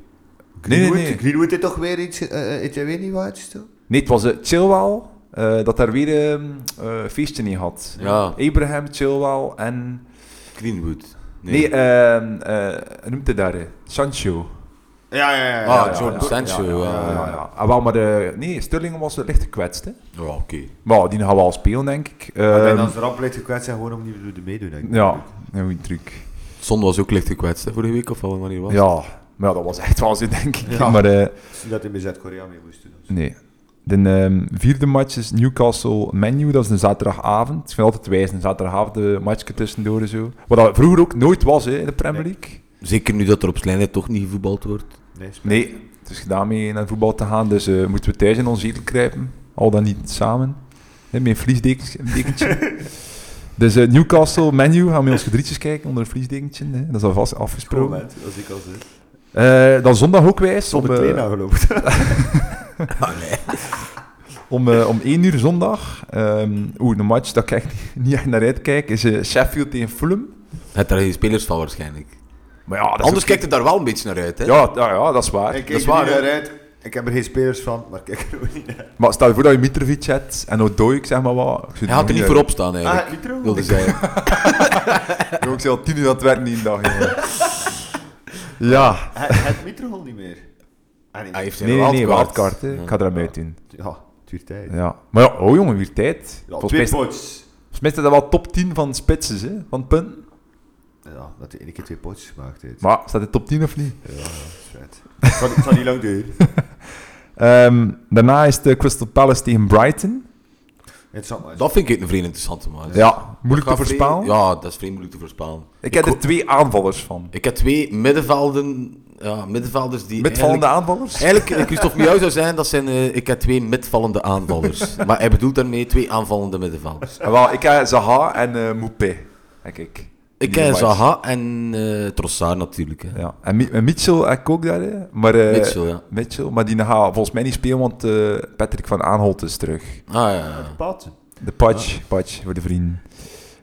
Nee, nee, Greenwood, nee. Greenwood heeft toch weer iets... eh, eh, Heeft hij weer niet wat uitgestoken? Nee, het was eh, Chilwell, eh, dat daar weer eh, eh, feestje in had. Ja, Abraham, Chilwell en... Greenwood. Ah, Nee, ehm eh hoe noemt hij daar? eh? Sancho. Ja, ja, ja. ah, ja, Jordan ja, Sancho. eh, Ja, Ja, ja, ja. Ah, wel, maar de, nee, Sterling was licht gekwetst. Hè. Ja, oké. Maar die gaan wel spelen, denk ik. Ik denk Ehm, Ah, dat ze erop licht gekwetst zijn, gewoon om niet te meedoen. denk ik. ja, een goede truc. Son was ook licht gekwetst hè, vorige week, of wel, wanneer was het? Ja, maar ja, dat was echt wel zo, denk ik. Ja. Maar eh, Het is niet dat hij bij Zuid-Korea mee moest doen. nee. De ehm, vierde match is Newcastle Menu, dat is een zaterdagavond. Ik vind het altijd wijs, een zaterdagavond de matchje tussendoor en zo. Wat dat vroeger ook nooit was hè, in de Premier League. Zeker nu dat er op slijnheid toch niet gevoetbald wordt. Nee, spijt. Nee, het is gedaan mee naar voetbal te gaan, dus eh, moeten we thuis in ons zetel kruipen. Al dan niet samen. Hè, met een vliesdekentje. dus eh, Newcastle Menu, gaan we met ons gedrietjes kijken onder een vliesdekentje. Hè. Dat is alvast Pro, afgesproken. man, als ik al zit. Eh dan zondag ook wijs. Zonder om, eh, trainer nou geloof ik. Ah, Om, eh, om 1 uur zondag, ehm oeh, een match dat ik echt niet- niet echt naar uitkijk, is eh, Sheffield tegen Fulham. Het daar geen spelers van waarschijnlijk. Maar ja, dat is Anders ook- kijkt het daar wel een beetje naar uit, hè? ja, ja, ja, dat is waar. Ik dat kijk is er waar, niet hè. naar uit. Ik heb er geen spelers van, maar ik kijk er ook niet naar. Maar stel je voor dat je Mitrovic hebt en Odoi, ik zeg maar wat. Ik zit Hij had er niet uit. voor op staan, eigenlijk. Ah, Utrecht? wilde zeggen. Ik ben ook zelf tien uur aan het werken die dag. jongen. ja. Hij hij heeft Mitrohol niet meer. Ah, nee. Hij heeft zijn Nee, nee, nee, wildcard. wildcard. hè. Ik ga er aan uit doen. Ja, het duurt tijd. Ja, Ja. Maar ja, oh jongen, weer tijd. volgens, mij, twee is- pots. volgens mij is dat wel top 10 van spitses, hè, van punten. Ja, dat hij één keer twee pots gemaakt heeft. Maar staat het top 10 of niet? Ja, ja, vet. Het zal, het zal niet lang duren. Ehm, daarna is de Crystal Palace tegen Brighton. Interessant, maar. Dat vind ik een vreemd interessante match. Ja, Dat moeilijk te gaat vrij- voorspellen. Ja, dat is vreemd moeilijk te voorspellen. Ik heb er twee aanvallers van. Ik heb twee middenvelden, ja, middenvelders die Midvallende aanvallers? Eigenlijk, eigenlijk Christophe Miau zou zijn, dat zijn, eh, ik heb twee midvallende aanvallers. maar hij bedoelt daarmee twee aanvallende middenvelders. Ah, wel, ik heb Zaha en eh Moupé. Heb ik. Ik Die ken match. Zaha en eh Trossard natuurlijk. Hè. Ja. En, Mi- en Mitchell heb ik ook daar, hè. Maar, eh, Mitchell, ja. Mitchell, maar die gaat volgens mij niet spelen, want eh, Patrick van Aanholt is terug. Ah ja, ja. Pat. De patch, Ah. patch voor de vrienden.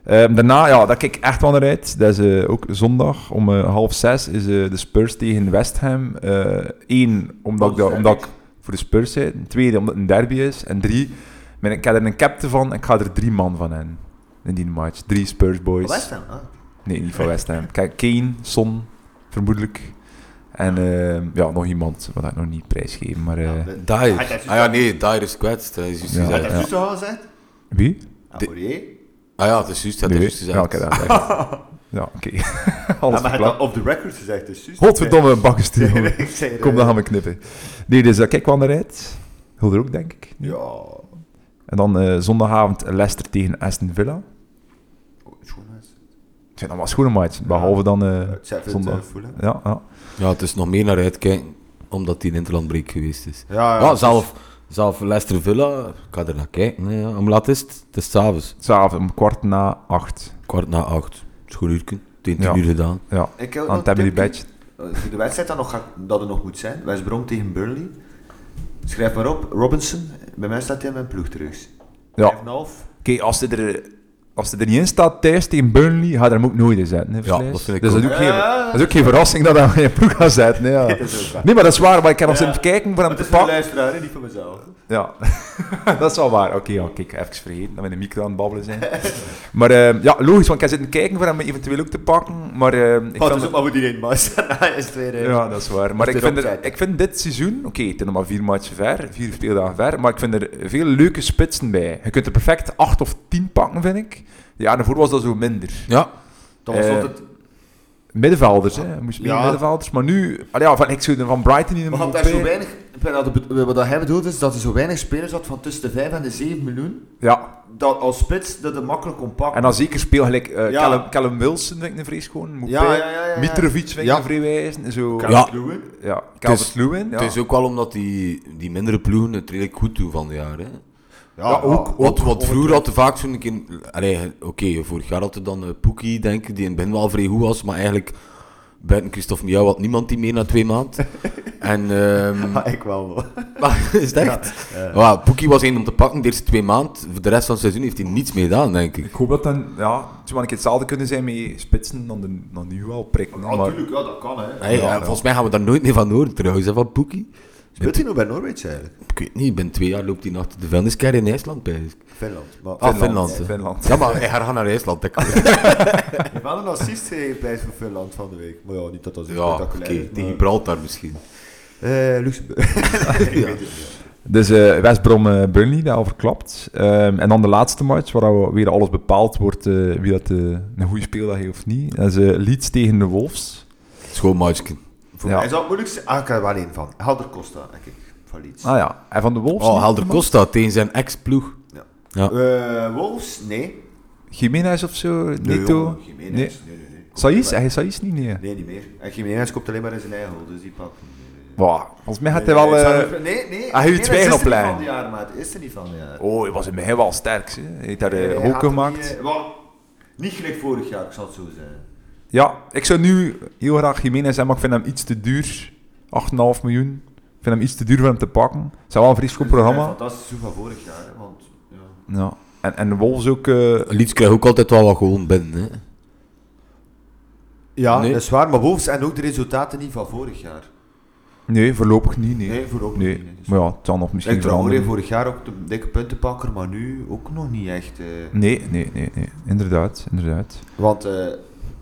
Ehm, daarna, ja, daar kijk ik echt wel naar uit. Dat is eh, ook zondag om eh, half zes is eh, de Spurs tegen West Ham. Eh, Eén, omdat ik, dat, omdat ik voor de Spurs zit. Tweede, omdat het een derby is. En drie, mijn- ik heb er een captain van en ik ga er drie man van in. In die match. Drie Spurs boys. West Ham, ah. Nee, niet van West Ham. Kijk, Kane, Son, vermoedelijk. En ehm, ja, nog iemand, wat ik nog niet prijsgeven. Maar, eh, Dyer. Hij heeft Ah ja, nee, Dyer is kwetst. Hij is juist Ja. Dat gezegd. heeft ja. Justo al gezegd. wie? Ah, De- Aurier. Ah ja, het is juist. Hij Nee, heeft juist wie? Ja, gezegd. oké. dat- ja, oké. Alles Ah, maar hij verklapt. heeft dat op de record gezegd, dus Justo. Godverdomme, bakken sturen. Ik zei er, Kom, dan eh, gaan we knippen. Nee, dus eh, kijk wel naar uit. Hul er ook, denk ik. Ja. En dan eh, zondagavond Leicester tegen Aston Villa. Oh, Schoonheid. Ik vind dat wel een schone match, behalve dan eh, Het zijn veel zondag. te voelen. Ja, ja. Ja, het is nog meer naar uitkijken, omdat hij in Interlandbreek geweest is. Ja, dus- dus Ja, zelf, zelf Leicester Villa, ik ga er naar kijken. hè, Ja. Om laat is het? Het is s'avonds, S'avonds om kwart na acht. kwart na acht. Schoon uurken, tien Ja. uur gedaan. Ja, Ik heb ook aan het nog hebben die een tipje. badge. Eh, voor de wedstrijd dat, nog gaat- dat er nog moet zijn. West Brom tegen Burnley. Schrijf maar op, Robinson. Bij mij staat hij in mijn ploeg terug. Ja, 5,5. Oké, als hij er, als hij er niet in staat thuis tegen Burnley, ga je hem ook nooit in zetten. Hè, Verslijs? dat vind ik dus dat is ook. ook, geen, Ja, dat is ook geen verrassing dat hij hem in je ploeg gaat zetten. hè, ja. Dat is ook waar. Nee, maar dat is waar, maar ik kan nog Ja. even kijken voor hem Het te is voor de pakken. luisteraar, hè, niet voor mezelf. Ja, dat is wel waar. Oké, ja, kijk, even vergeten dat we in de micro aan het babbelen zijn. maar ehm, ja, logisch, want ik zit zitten kijken voor hem eventueel ook te pakken. Maar ehm, ik Oh, vind dus ook maar voor die één maas. Daarna is het weer... eh, Ja, dat is waar. Maar Het ik is vind, er, opzet. ik vind dit seizoen, oké, het is nog maar vier matchen ver, vier speeldagen ver, maar ik vind er veel leuke spitsen bij. Je kunt er perfect acht of tien pakken, vind ik. De jaren daarvoor was dat zo minder. Ja, Dan was Eh, altijd... Middenvelders, hè. Moest meer Ja. middenvelders. Maar nu, ah ja, van, ik zou er van Brighton in de We hadden daar Mopé- zo weinig... wat dat- Wat hij bedoelt is dat er zo weinig spelers had van tussen de 5 en de 7 miljoen. Ja, Dat als spits dat het makkelijk kon pakken. en dan zeker speel gelijk eh, Ja. Callum, Callum Wilson, vind ik een vreeschoon. Mopé. Ja, ja, ja, ja, ja. Mitrovic, vind ik Ja. een vreewijzen. Zo, Kan ja, Ja. het doen. ja. Het Calvert is- Lewin. Ja. het is ook wel omdat die, die mindere ploegen het redelijk goed doen van de jaren. hè. Ja, ook. ja. Want, want vroeger had je vaak zo'n keer... allee, Oké, vorig jaar had je dan eh, Poekie, denk ik, die in het begin wel vrij goed was, maar eigenlijk... Buiten Christophe Miauw had niemand die mee na twee maanden. En ehm, Maar ik wel. hoor. Maar, is het echt? Ja, Poekie was één om te pakken de eerste twee maanden. Voor de rest van het seizoen heeft hij niets meer gedaan, denk ik. Ik hoop dat dan, ja, het zou wel een keer hetzelfde kunnen zijn met spitsen dan, de, dan nu wel prikken. Ah, maar tuurlijk, ja, dat kan hè. Hey, ja, Volgens mij gaan we daar nooit meer van horen trouwens, hè, van Poekie. Speelt hij nog bij Norwich eigenlijk? Ik weet niet, binnen twee jaar loopt hij achter de vuilniscar in IJsland bij. Finland. Maar Ah, Finland, Finland. hè. ja, Finland. Ja, maar hij gaat naar IJsland. dat kan. heeft wel een assist gegeven bij voor Finland van de week. Maar ja, niet dat dat zo Ja, oké, spectaculair is. tegen maar- Gibraltar misschien. Eh, Luxemburg. Dus eh West Brom eh, Burnley, dat al verklapt. Ehm, en dan de laatste match, waar we- weer alles bepaald wordt eh, wie dat eh, een goede speeldag heeft of niet. Dat is eh, Leeds tegen de Wolves. Schoon matchje. Voor Ja. mij zou het moeilijkste... Ah, ik heb er wel één van. Helder Costa, denk ik. Van Leeds. Ah ja, en van de Wolves? Oh, niet? Helder Costa tegen zijn ex-ploeg. Eh, Wolves? Nee. Jiménez of zo? Neto? jongen, Jiménez. Nee. Nee, nee, nee. Saïs? Hij Saïs niet, nee. Nee, niet meer. En Jiménez koopt alleen maar in zijn eigen hol, dus die pakt hem. Wow, volgens mij gaat hij wel... Nee, eh, zou- nee, nee. hij heeft Jiménez twee is er niet opleiding. van die jaar, maat. Is er niet van die jaar. Oh, hij was in het begin wel sterk. hè. Hij heeft daar eh, Hij hoeken had hem gemaakt. Niet, eh, wel, niet gelijk vorig jaar, ik zal het zo zeggen. Ja, ik zou nu heel graag Jiménez hebben, maar ik vind hem iets te duur. 8,5 miljoen. Ik vind hem iets te duur om hem te pakken. Het zou wel een vriendschap Een programma. fantastisch seizoen van vorig jaar, hè, want... Ja. Ja. En, en de Wolves ook... eh, Leeds krijgt ook altijd wel wat gewoon binnen. Hè. Ja, Nee. dat is waar, maar Wolves en ook de resultaten niet van vorig jaar. nee, voorlopig niet, nee. Nee, voorop Nee, niet. Dus- maar ja, het zal nog misschien Ik trouwens veranderen. vorig jaar ook de dikke puntenpakker, maar nu ook nog niet echt. eh. Nee, nee, nee, nee. Inderdaad, inderdaad. Want eh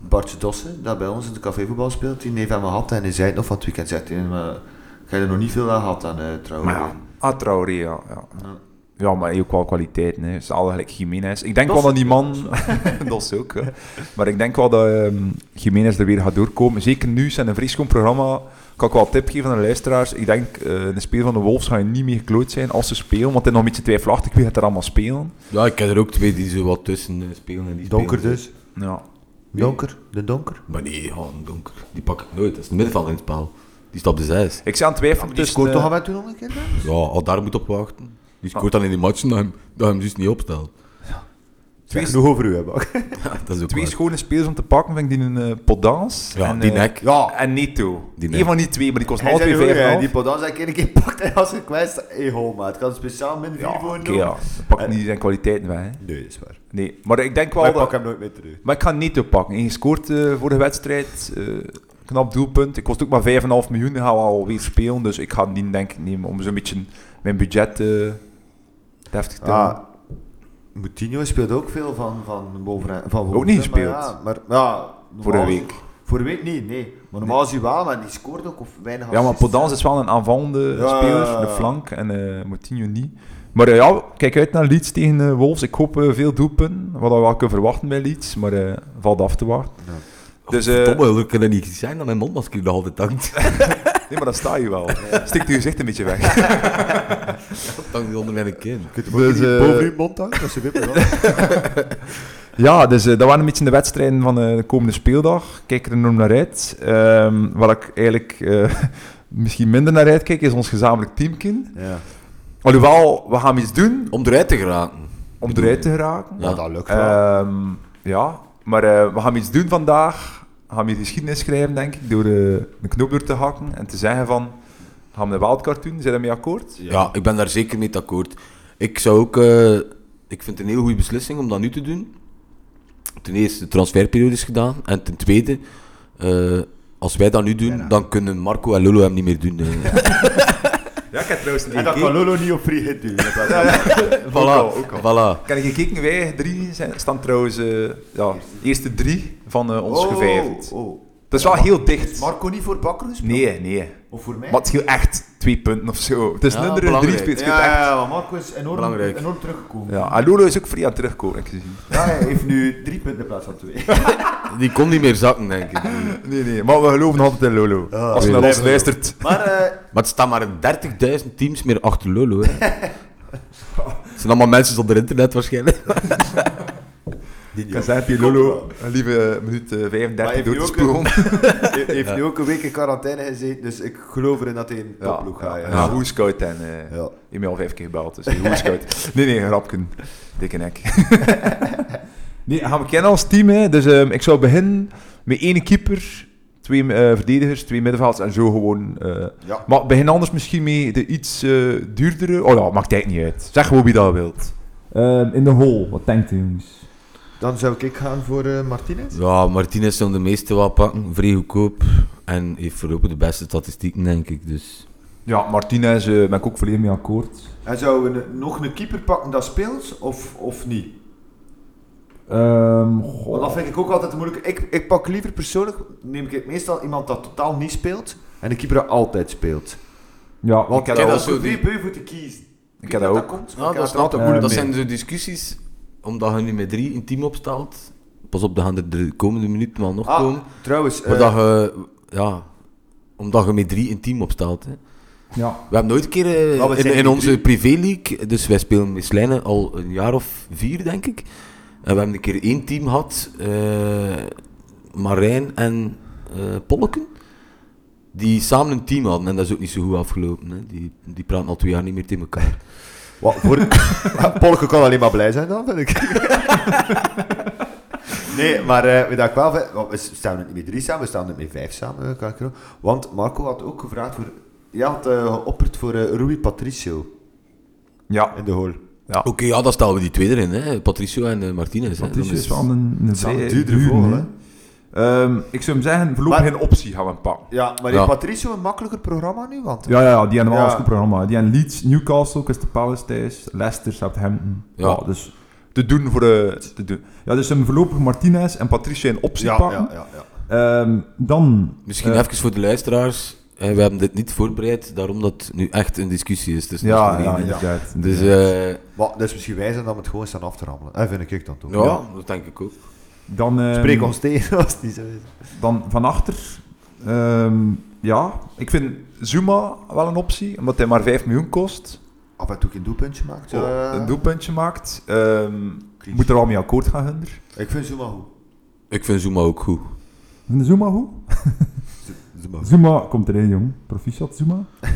Bartje Dossen, dat bij ons in de cafévoetbal speelt, die heeft hem gehad en hij zei het nog van het weekend. Zegt hij, maar ik heb er nog niet veel aan gehad aan eh trouwens. Maar ja, ah, Traoré, ja. ja. Ja. Ja, maar hij heeft ook wel kwaliteit. Hè. Het is al gelijk Jiménez. Ik denk Dat wel is- dat die man... dat is ook, hè. Maar ik denk wel dat ehm Jiménez er weer gaat doorkomen. Zeker nu, zijn een vrieskom programma. Kan ik wel een tip geven aan de luisteraars. Ik denk, eh de speler van de Wolves ga je niet meer gekloot zijn als ze spelen. Want het is nog een beetje twijfelachtig wie gaat er allemaal spelen. Ja, ik heb er ook twee die zo wat tussen eh, spelen en die Donker spelen. dus. Ja. Donker, de donker. Maar nee, ja, een donker. Die pak ik nooit. Dat is het middenveld in het spel. Die stapt de zes. Ik zou aan het twijfelen Die tussen, scoort eh, toch al met toen nog een keer? hè? Ja, al daar moet op wachten. Die scoort dan in die matchen dat hij hem, dat hij hem juist niet opstelt. twee, Genoeg over u hebben. Ja, dat is ook twee waar. schone spelers om te pakken. Vind ik die een eh, Podans. Ja, en, die eh, nek. Ja, En Neto. Die Eén nek. van die twee, maar die kost hij alle zei twee nu ook, hè, die 5,5. Podans dat ik een keer pakt en als een kwest. Hey, ho, maat. Ik had een speciaal min 4 Ja, voor oké, hem ja. doen. Dat pakt niet zijn kwaliteiten weg. hè. Nee, dat is waar. Nee, maar ik denk wel Maar ik dat... pak hem nooit meer terug. Maar ik ga Neto pakken. Hij scoort eh, voor de wedstrijd. eh, knap doelpunt. Ik kost ook maar 5,5 miljoen. Dan gaan we alweer spelen. Dus ik ga die denk ik nemen om zo'n beetje mijn budget eh deftig Ah, te houden. Ja, Moutinho speelt ook veel van, van, boven, van boven. Ook niet hè, maar gespeeld. Ja, maar, ja, Voor de normaal- week. Voor de week niet, nee. Maar normaal is hij wel, maar die scoort ook of weinig Ja, maar assists. Podans is wel een aanvallende Ja, ja, speler. ja. De flank. En eh Moutinho niet. Maar eh, ja, kijk uit naar Leeds tegen eh, Wolves. Ik hoop eh, veel doelpunten. Wat we wel kunnen verwachten bij Leeds. Maar eh, valt af te wachten. Ja. Dus, eh, Oh, Verdomme, dat kan dat niet zijn dat mijn mondmasker nog altijd hangt. nee, maar dan sta je wel. Stikt je gezicht een beetje weg. Dat hangt onder mijn kin. Kunt hem ook Dus, niet eh, boven uw mond hangen, dat is een wippe, hoor. Ja, dus eh, dat waren een beetje de wedstrijden van eh, de komende speeldag. Ik Kijk er enorm naar uit. Ehm waar ik eigenlijk eh, misschien minder naar uitkijk, is ons gezamenlijk teamkin. ja. Alhoewel, we gaan iets doen Om eruit te geraken. om eruit te geraken. Ja. Maar dat lukt wel. Ehm, ja, maar eh, we gaan iets doen vandaag. We gaan hier geschiedenis schrijven, denk ik, door eh een knoop door te hakken en te zeggen van... Gaan we een wildcard doen? Zijn daarmee akkoord? Ja. ik ben daar zeker mee akkoord. Ik zou ook... eh, ik vind het een heel goede beslissing om dat nu te doen. Ten eerste, de transferperiode is gedaan. En ten tweede, eh, als wij dat nu doen, dan kunnen Marco en Lolo hem niet meer doen. eh. Ja, ik heb trouwens een En dat kan Lolo niet op free hit doen. dat was- voilà, al, ook al. voilà. Ik heb gekeken, wij drie zijn, staan trouwens eh ja, eerste drie van eh, ons Oh, gevijfd. oh. Dat is wel heel dicht. Marco niet voor Bakker gespeeld? Nee, nee. Of voor mij? Maar het scheelt echt twee punten of zo. Het is Ja, minder een drie belangrijk. speelt. ja, Het scheelt echt. ja, maar Marco is enorm, Belangrijk. enorm teruggekomen. Ja. Ja, en Lolo is ook free aan het terugkomen, heb ik gezien. hij heeft nu drie punten in plaats van twee. Die kon niet meer zakken, denk ik. Nee, nee, maar we geloven altijd in Lolo. Als je naar ons blijven luistert. Maar eh, Maar het staan maar 30.000 teams meer achter Lolo. Hè. Het zijn allemaal mensen zonder internet waarschijnlijk. Ik kan zeggen, tegen Lolo, een lieve minuut eh, Maar 35 heeft door hij te ook een- spelen. hij heeft nu ook een week in quarantaine gezeten, dus ik geloof erin dat hij een Ja, topploeg gaat. Ja. Ah, ja. Hoe scout en... eh, Ja. Ik ben al vijf keer gebeld, dus hoe scout. Nee, nee, grapken. Dikke nek. nee, gaan we kennen als team, hè. Dus ehm, ik zou beginnen met één keeper Twee eh, verdedigers, twee middenvelds en zo gewoon. eh. Ja. Maar begin anders misschien mee de iets eh, duurdere. Oh ja, maakt eigenlijk niet uit. Zeg gewoon wie dat wilt. Ehm, in de hole, wat denkt u jongens? Dan zou ik gaan voor eh Martinez. Ja, Martinez zal de meeste wel pakken, vrij goedkoop. En heeft voorlopig de beste statistieken, denk ik. Dus. Ja, Martinez, eh ben ik ook volledig mee akkoord. En zouden we een- nog een keeper pakken dat speelt of, of niet? Ehm, Want goh. dat vind ik ook altijd moeilijk. Ik, ik pak liever persoonlijk, neem ik meestal iemand dat totaal niet speelt en een keeper dat altijd speelt. Ja, Want ik ik heb dat heb ook zo zo drie die- beu moeten kiezen. Ik heb dat ook. komt, Ik Ja, dat had er staat ook eh, moeilijk. Dat mee. zijn zo discussies, omdat je nu met drie een team opstelt. Pas op, dan gaan er de komende minuten wel nog Ah, komen. Trouwens, eh, Maar dat je, ja, omdat je met drie een team opstelt. Hè. ja. We hebben nooit een keer eh, Maar we in, zijn in met onze drie. privéleague, dus wij spelen met Slijnen al een jaar of vier, denk ik. En we hebben een keer één team gehad, eh, Marijn en eh Polleken, die samen een team hadden. En dat is ook niet zo goed afgelopen. Hè. Die, die praten al twee jaar niet meer tegen elkaar. wat, voor... Ah, Polke kan alleen maar blij zijn dan, vind ik. nee, maar eh, weet dat ik wel vind- want we staan niet met drie samen, we staan niet met vijf samen. eh, Kan ik er ook- Want Marco had ook gevraagd voor... Jij had eh, geopperd voor eh, Rui Patricio Ja, in de hol. Oké, ja, dan stellen we die twee erin, hè. Patricio en eh, Martinez. hè. Patricio Dan is van een, een wel een vrij duurdere duur, vogel, hè. hè. Ehm, ik zou hem zeggen, voorlopig Maar- geen optie gaan we pakken. Ja, maar heeft Ja. Patricio een makkelijker programma nu? Want eh, Ja, ja, ja, die hebben wel Ja. een goed programma. Die hebben Leeds, Newcastle, Crystal Palace thuis, Leicester, Southampton. Ja. Ja. dus te doen voor de... Te doen. Ja, dus hem voorlopig Martinez en Patricia in optie ja, pakken. ja, ja, ja. Ehm, dan... Misschien eh, even voor de luisteraars. Eh, we hebben dit niet voorbereid, daarom dat het nu echt een discussie is tussen ons Ja, drieën, ja, hè. inderdaad. Dus inderdaad. eh, Maar dat is misschien wijzer dan het gewoon staan af te rammelen. Dat vind ik dan toch. ja, dat denk ik ook. dan, ehm, Spreek ons tegen als het niet zo is. Dan van achter... ehm, ja, ik vind Zuma wel een optie, omdat hij maar 5 miljoen kost. Af en toe een doelpuntje maakt. Zo, ja. Oh, Eh, Een doelpuntje maakt. Ehm, Kritisch. moet er al mee akkoord gaan, Hunder. Ik vind Zuma goed. Ik vind Zuma ook goed. Vind Zuma goed? Zuma. Zuma komt erin, jong. Proficiat, Zuma.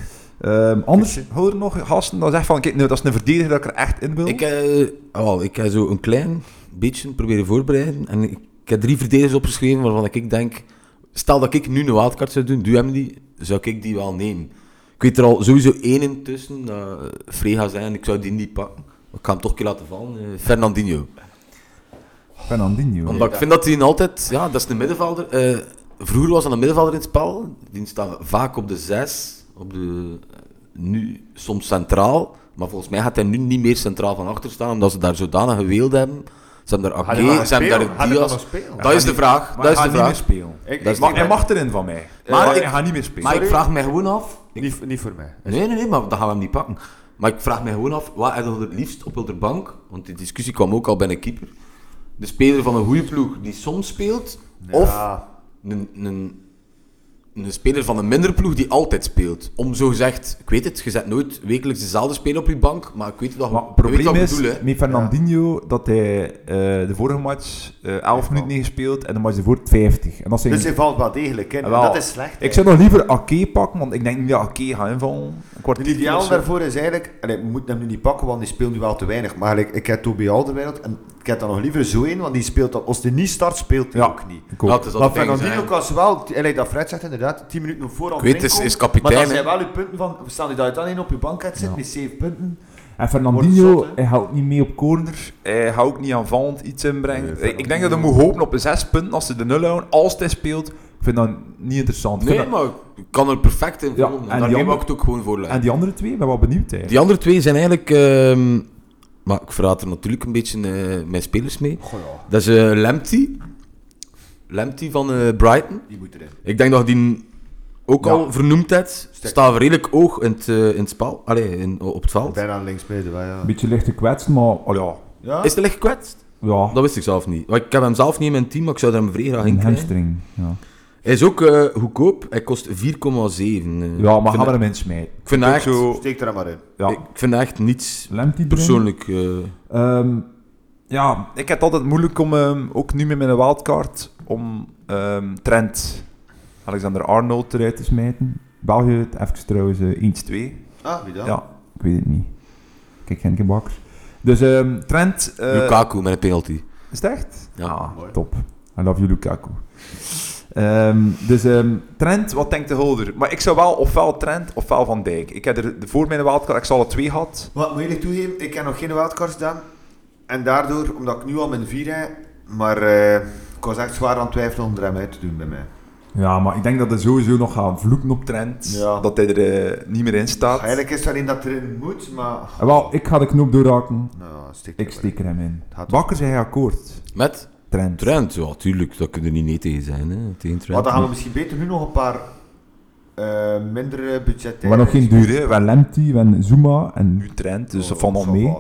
Ehm, anders, houden er nog gasten dat zegt van, kijk, nou, dat is een verdediger dat ik er echt in wil. Ik, eh, wel, ik heb zo een klein beetje proberen voorbereiden. En ik, ik heb drie verdedigers opgeschreven waarvan ik denk... Stel dat ik nu een wildcard zou doen, doe hem die, zou ik die wel nemen. Ik weet er al sowieso één in tussen, dat eh, vrij gaat zijn. Ik zou die niet pakken. Maar Ik ga hem toch een keer laten vallen. eh, Fernandinho. Fernandinho. Omdat ik vind dat hij altijd... Ja, dat is een middenvelder. eh, vroeger was dat een middenvelder in het spel. Die staat vaak op de zes. Op de, eh, nu soms centraal. Maar volgens mij gaat hij nu niet meer centraal van achter staan. Omdat ze daar zodanig geweeld hebben. Ze hebben daar hij Ake, ze hebben daar Diaz. spelen? Dat is de vraag. Dat is de vraag. spelen. ik, dat is Maar mag, hij mag erin van mij. Maar Eh, maar hij ik- gaat niet meer spelen. Maar ik vraag mij gewoon af... niet, niet voor mij. Nee, nee, nee, maar dat gaan we hem niet pakken. Maar ik vraag mij gewoon af, wat heb je het liefst op de bank? Want die discussie kwam ook al bij een keeper. De speler van een goede ploeg die soms speelt, of Ja. een, een, een speler van een minder ploeg die altijd speelt. Om zo gezegd, ik weet het, je zet nooit wekelijks dezelfde speler op je bank, maar ik weet wat, Maar je het weet probleem wat ik is bedoel, hè. met Fernandinho dat hij eh, de vorige match eh 11 minuten heeft gespeeld en de match ervoor 50. En dat zijn Dus hij valt wel degelijk in. En Wel, dat is slecht. Ik zou nog liever Ake pakken, want ik denk niet dat Ake gaat invallen. Een Het kwartier of ideaal zo. daarvoor is eigenlijk, en we moeten hem nu niet pakken, want die speelt nu wel te weinig. Maar ik, ik heb Toby Alderweireld en ik heb dan nog liever zo in, want die speelt dat. Als die niet start, speelt hij Ja. ook niet. Ik ook. Ja, het is dat Maar ding, Fernandinho hè. kan ze wel, en like dat Fred zegt inderdaad, 10 minuten vooral Ik weet, is- is kapitein, Maar dat hè. zijn wel uw punten van, staan die dat je dan één op je bank hebt zitten met 7 punten. En Fernandinho, Wordt zot, hè? hij houdt niet mee op corners. Hij gaat ook niet aanvallend iets inbrengen. ik denk dat hij moet hopen op zes punten als ze de nul houden. Als hij speelt, ik vind dat niet interessant. Ik Nee, vind dat- maar ik kan er perfect in Ja, volgen. en en daar die neem ik andere- het ook gewoon voor leggen. En die andere twee, ik ben wel benieuwd eigenlijk. Die andere twee zijn eigenlijk... ehm, maar ik verraad er natuurlijk een beetje eh, mijn spelers mee. Goh ja, Dat is eh Lamptey. Lamptey van eh, Brighton. die moet erin. Ik denk dat die ook al vernoemd hebt. Staat redelijk hoog in het, eh, in het spel. Allee, in, op het veld. Bijna links midden, wel, ja. Een beetje licht gekwetst, maar oh ja, ja. Is hij licht gekwetst? ja Dat wist ik zelf niet. Want Ik heb hem zelf niet in mijn team, maar ik zou er hem vrij graag in een krijgen. hamstring. Ja, Hij is ook eh, goedkoop. Hij kost 4,7. eh. ja ik maar vind gaan we dat- hem insmijten? ik vind dat echt, Zo, Steek er dan maar in. ja. ik vind dat echt niets Lemty erin. persoonlijk. eh, Ehm, ja, ik heb het altijd moeilijk om, ehm, ook nu met mijn wildcard, om ehm Trent, Alexander Arnold eruit te smijten. België, het even trouwens eh, 1-2. Ah, wie dan? Ja, ik weet het niet. Kijk, geen bakkers. Dus ehm, Trent... eh, Lukaku met een penalty. Is het echt? Ja. Top. I love you, Lukaku. Ehm, dus ehm, Trent, wat denkt de Hulder? Maar ik zou wel ofwel Trent ofwel Van Dijk. Ik heb er de- voor mijn wildcard, ik zal er twee gehad. Wat moet eerlijk toegeven, ik heb nog geen wildcard gedaan. En daardoor, omdat ik nu al mijn vier heb, maar eh, ik was echt zwaar aan het twijfelen om er hem uit te doen bij mij. Ja, maar ik denk dat er sowieso nog gaan vloeken op Trent. Ja. Dat hij er eh, niet meer in staat. Eigenlijk is het alleen dat erin moet, maar... Eh, Wel, ik ga de knoop doorraken. Nou, stik er Ik maar steek er hem in. Gaat- Bakker zei hij akkoord. Met Trent. Trent, ja, tuurlijk, dat kunnen er niet nee tegen zijn. Hè, tegen in. Maar Trent. dan gaan we misschien beter nu nog een paar eh mindere budgetten... We hebben nog geen duur, hè. We hebben Lemty, we hebben Zuma en nu Trent. Dus Oh, dat valt nog mee.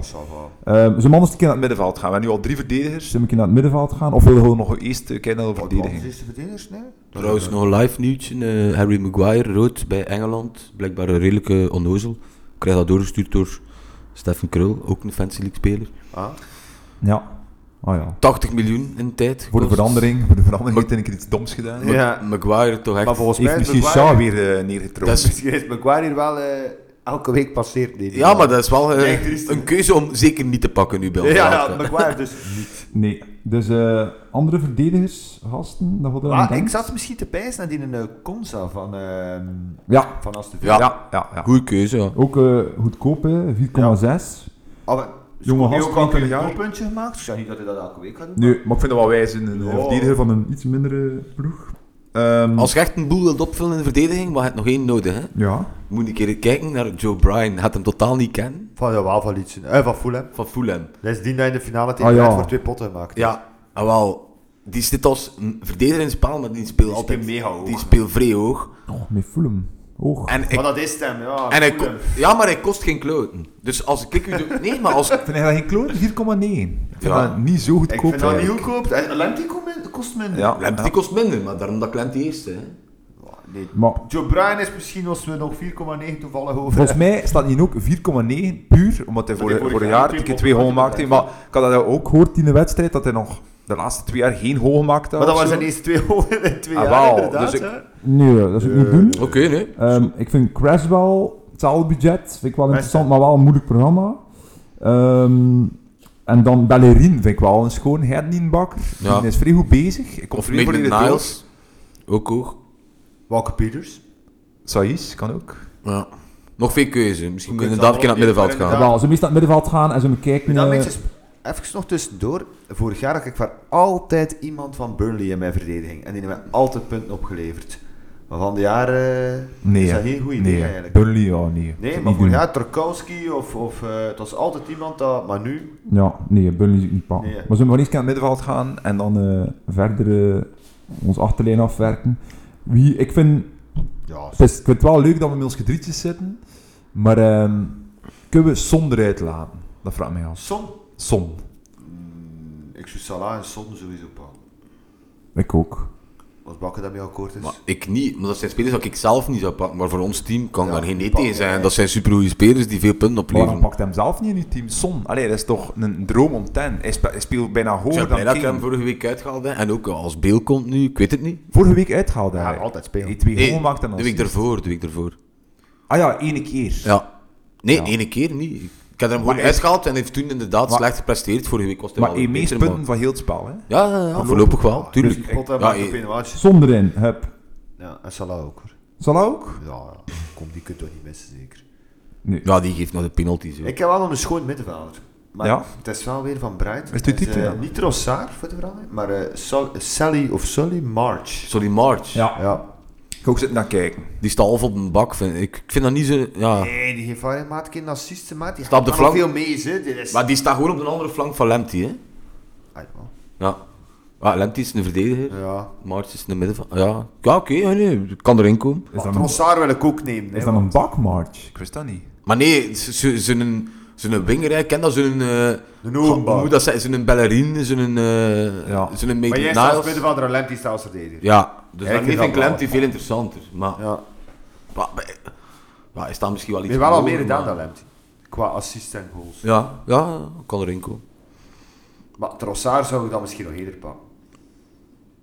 Ehm zo man eens een keer naar het middenveld gaan. We hebben nu al drie verdedigers. Zullen we een keer naar het middenveld gaan? Of willen we nog eerst eh, kijken naar de Verdediging. verdediging? Is de verdedigers, nee? Trouwens, nog een live nieuwtje. eh, Harry Maguire, rood bij Engeland. Blijkbaar een redelijke onnozel. Ik krijg dat doorgestuurd door Stefan Krul, ook een Fancy League speler. Ah. Ja. Oh ja. 80 miljoen in tijd. Voor de kost. verandering. Voor de verandering heeft hij een keer iets doms gedaan. Ja. Maguire toch echt. Maar volgens mij Heeft is misschien Maguire, Shaw weer eh neergetrokken. Dat is- misschien is Maguire hier wel eh, elke week passeert. Nee, ja, maar dat is wel eh, Nee, triest, hè. een keuze om zeker niet te pakken nu bij Ja, ons. ja, Maguire dus niet. Nee. Dus eh, andere verdedigers, gasten, dat hadden we Ah, aan ik denken? zat misschien te pijzen naar die eh, Konsa van, ehm Ja. van Aston Villa. Ja. Ja, ja, ja. Goeie keuze, ja. Ook eh, goedkoop, hè. 4,6. Ah, maar- Jonge Ook gast, ook al een jaar. doelpuntje gemaakt. Ik zeg niet dat hij dat elke week gaat doen. Nee, maar ik vind het wel wijs in een eh, Ja. verdediger van een iets mindere ploeg. Ehm, Als je echt een boel wilt opvullen in de verdediging, maar je hebt nog één nodig. Hè? Ja. Moet je een keer kijken naar Joe Bryan. Je gaat hem totaal niet kennen. Van ja, wel van Leeds. Eh, van Fulham. Van Fulham. Dat is die dat in de finale tegen Ah, ja. Brentford voor twee potten gemaakt. heeft. Ja, ah, wel. Die zit als een verdediger in spel, maar die speelt altijd... speelt mega hoog. Die speelt vrij hoog. Oh, met Fulham. Oog. En ik, Maar dat is hem, ja. en ik, Fulham. ja, maar hij kost geen kloten. Dus als ik... u doe- Nee, maar als... Vind jij dat geen kloor? 4,9. Ik vind Ja. dat niet zo Ik goedkoop vind dat niet eigenlijk. goedkoop. En Lemty komt Eh, min- kost minder. Ja. Lent, die kost minder, maar daarom dat ik Lent die eerste. Hè. Ja, Nee. Maar Joe Bryan is misschien als we nog 4,9 toevallig over volgens mij staat hij ook 4,9 puur, omdat hij voor, hij voor vorig een jaar jaar twee een keer goals twee goal maakte. maakte. Maar ik had dat ook gehoord in de wedstrijd, dat hij nog de laatste twee jaar geen goal maakte. Maar dat of waren zo. zijn eerste twee over in twee Ah, jaar, wauw. inderdaad. Dus ik- hè. Nee, dat zou ik niet doen. Oké, nee. Ehm, ik vind Craswell, hetzelfde budget, vind ik wel interessant, Best, maar wel een moeilijk programma. Ehm, en dan Bellerin vind ik wel een schoon hernienbakker. Ja. Die is vrij goed bezig. Ik Of controleer Maitland volledig door. Niles. Ook hoog. Walker Peters. Saïs kan ook. Ja. Nog veel keuze. Misschien We moet je kunnen inderdaad een keer naar het middenveld allemaal gaan. Ja. Wel, ze meestal naar het middenveld gaan en ze me kijken. Dan eh, mensen, even nog tussendoor. Vorig jaar had ik voor altijd iemand van Burnley in mijn verdediging. En die heeft mij altijd punten opgeleverd. Maar van de jaren nee, is dat hè. geen goed idee nee, hè. eigenlijk. Burnley, ja, nee. Dat Nee, niet maar vorig doen. jaar Tarkowski of... of eh, het was altijd iemand dat... Maar nu... Ja, nee, Burnley is niet pakken. Nee, hè. Maar zullen we van eerst naar het middenveld gaan en dan eh, verder eh, onze achterlijn afwerken. Wie, ik vind Ja, Het is, ik vind het wel leuk dat we met ons gedrietjes zitten, maar ehm, kunnen we Son eruit laten? Dat vraag ik mij af. Son. Son. Mm, ik zou Salah en Son sowieso pakken. Ik ook. Als Bakker daarmee akkoord is. Maar ik niet, maar dat zijn spelers die ik zelf niet zou pakken. Maar voor ons team kan Ja, daar geen nee pakken, tegen zijn. ja. Dat zijn supergoeie spelers die veel punten Maar waarom opleveren. pakt hem zelf niet in uw team? Son. Allee, dat is toch een droom om ten. Hij, spe- hij speelt bijna Ik ben hoger blij dan dat ik Kane. hem vorige week uitgehaald heb. En ook als Beel komt nu, ik weet het niet. Vorige week uitgehaald ja, hij. altijd spelen. Hij twee Nee, goal maakte en de week assist. ervoor, de week ervoor. Ah ja, één keer. Ja. Nee, Ja. ene keer niet. Ik heb er hem Maar gewoon hij- uitgehaald en heeft toen inderdaad Maar- slecht gepresteerd. Vorige week was hij Maar wel hij meest beter, maar- punten van heel het spel. Hè? Ja, ja, ja, voorlopig wel, tuurlijk. Dus Pot en Ja, Bakker eh, op een watje. Son erin. Hup. Ja, en Salah ook hoor. Zal hij ook? Ja, ja. Kom, die kunt toch niet missen zeker. Nee. Ja, die geeft nog de penalties. hoor. Ik heb wel nog een schoon middenvelder. Maar Ja. het is wel weer van Bright. Is het uw Het is, type eh, dan? Niet Trossard voor de verandering, maar eh, Sol- Sally of Sully March. Sorry, March. Ja. Ja. Ik ga ook zitten naar kijken. Die staat half op een bak. vind ik. Ik vind dat niet zo... Ja. Nee, die heeft wel maat geen assisten, maat. Die Staat gaat op de er nog flank. veel mee, hè. Dit is... Maar die staat gewoon op de andere flank van Lemty, hè? Ah, ja. Ja. Ah, Lemty is een verdediger. Ja. Maartjes is in de midden van... Ja, ja oké, ja, nee, kan erin komen. Is Maar dat een, Trossard wil ik ook nemen. is hè, dat want- een bakmarch? Ik wist dat niet. Maar nee, z- z- zo'n zo'n winger, hè, ik ken dat zo'n... eh, Een ogenbak. hoe moet dat zijn? Zo'n ballerine, zo'n... eh Ja. Zo'n Maar jij Maitland staat als Niles. middenvelder en Lemty staat als verdediger. Ja, dus Ja, ik daarmee vind vind ik dat Lemty veel interessanter. Maar, Ja. maar, maar, ja, hij staat misschien wel Je iets... hebt wel al hoger, meer gedaan maar- dan Lemty. Qua assist en goals. Ja, ja, kan erin komen. Maar Trossard zou ik dan misschien nog eerder pakken.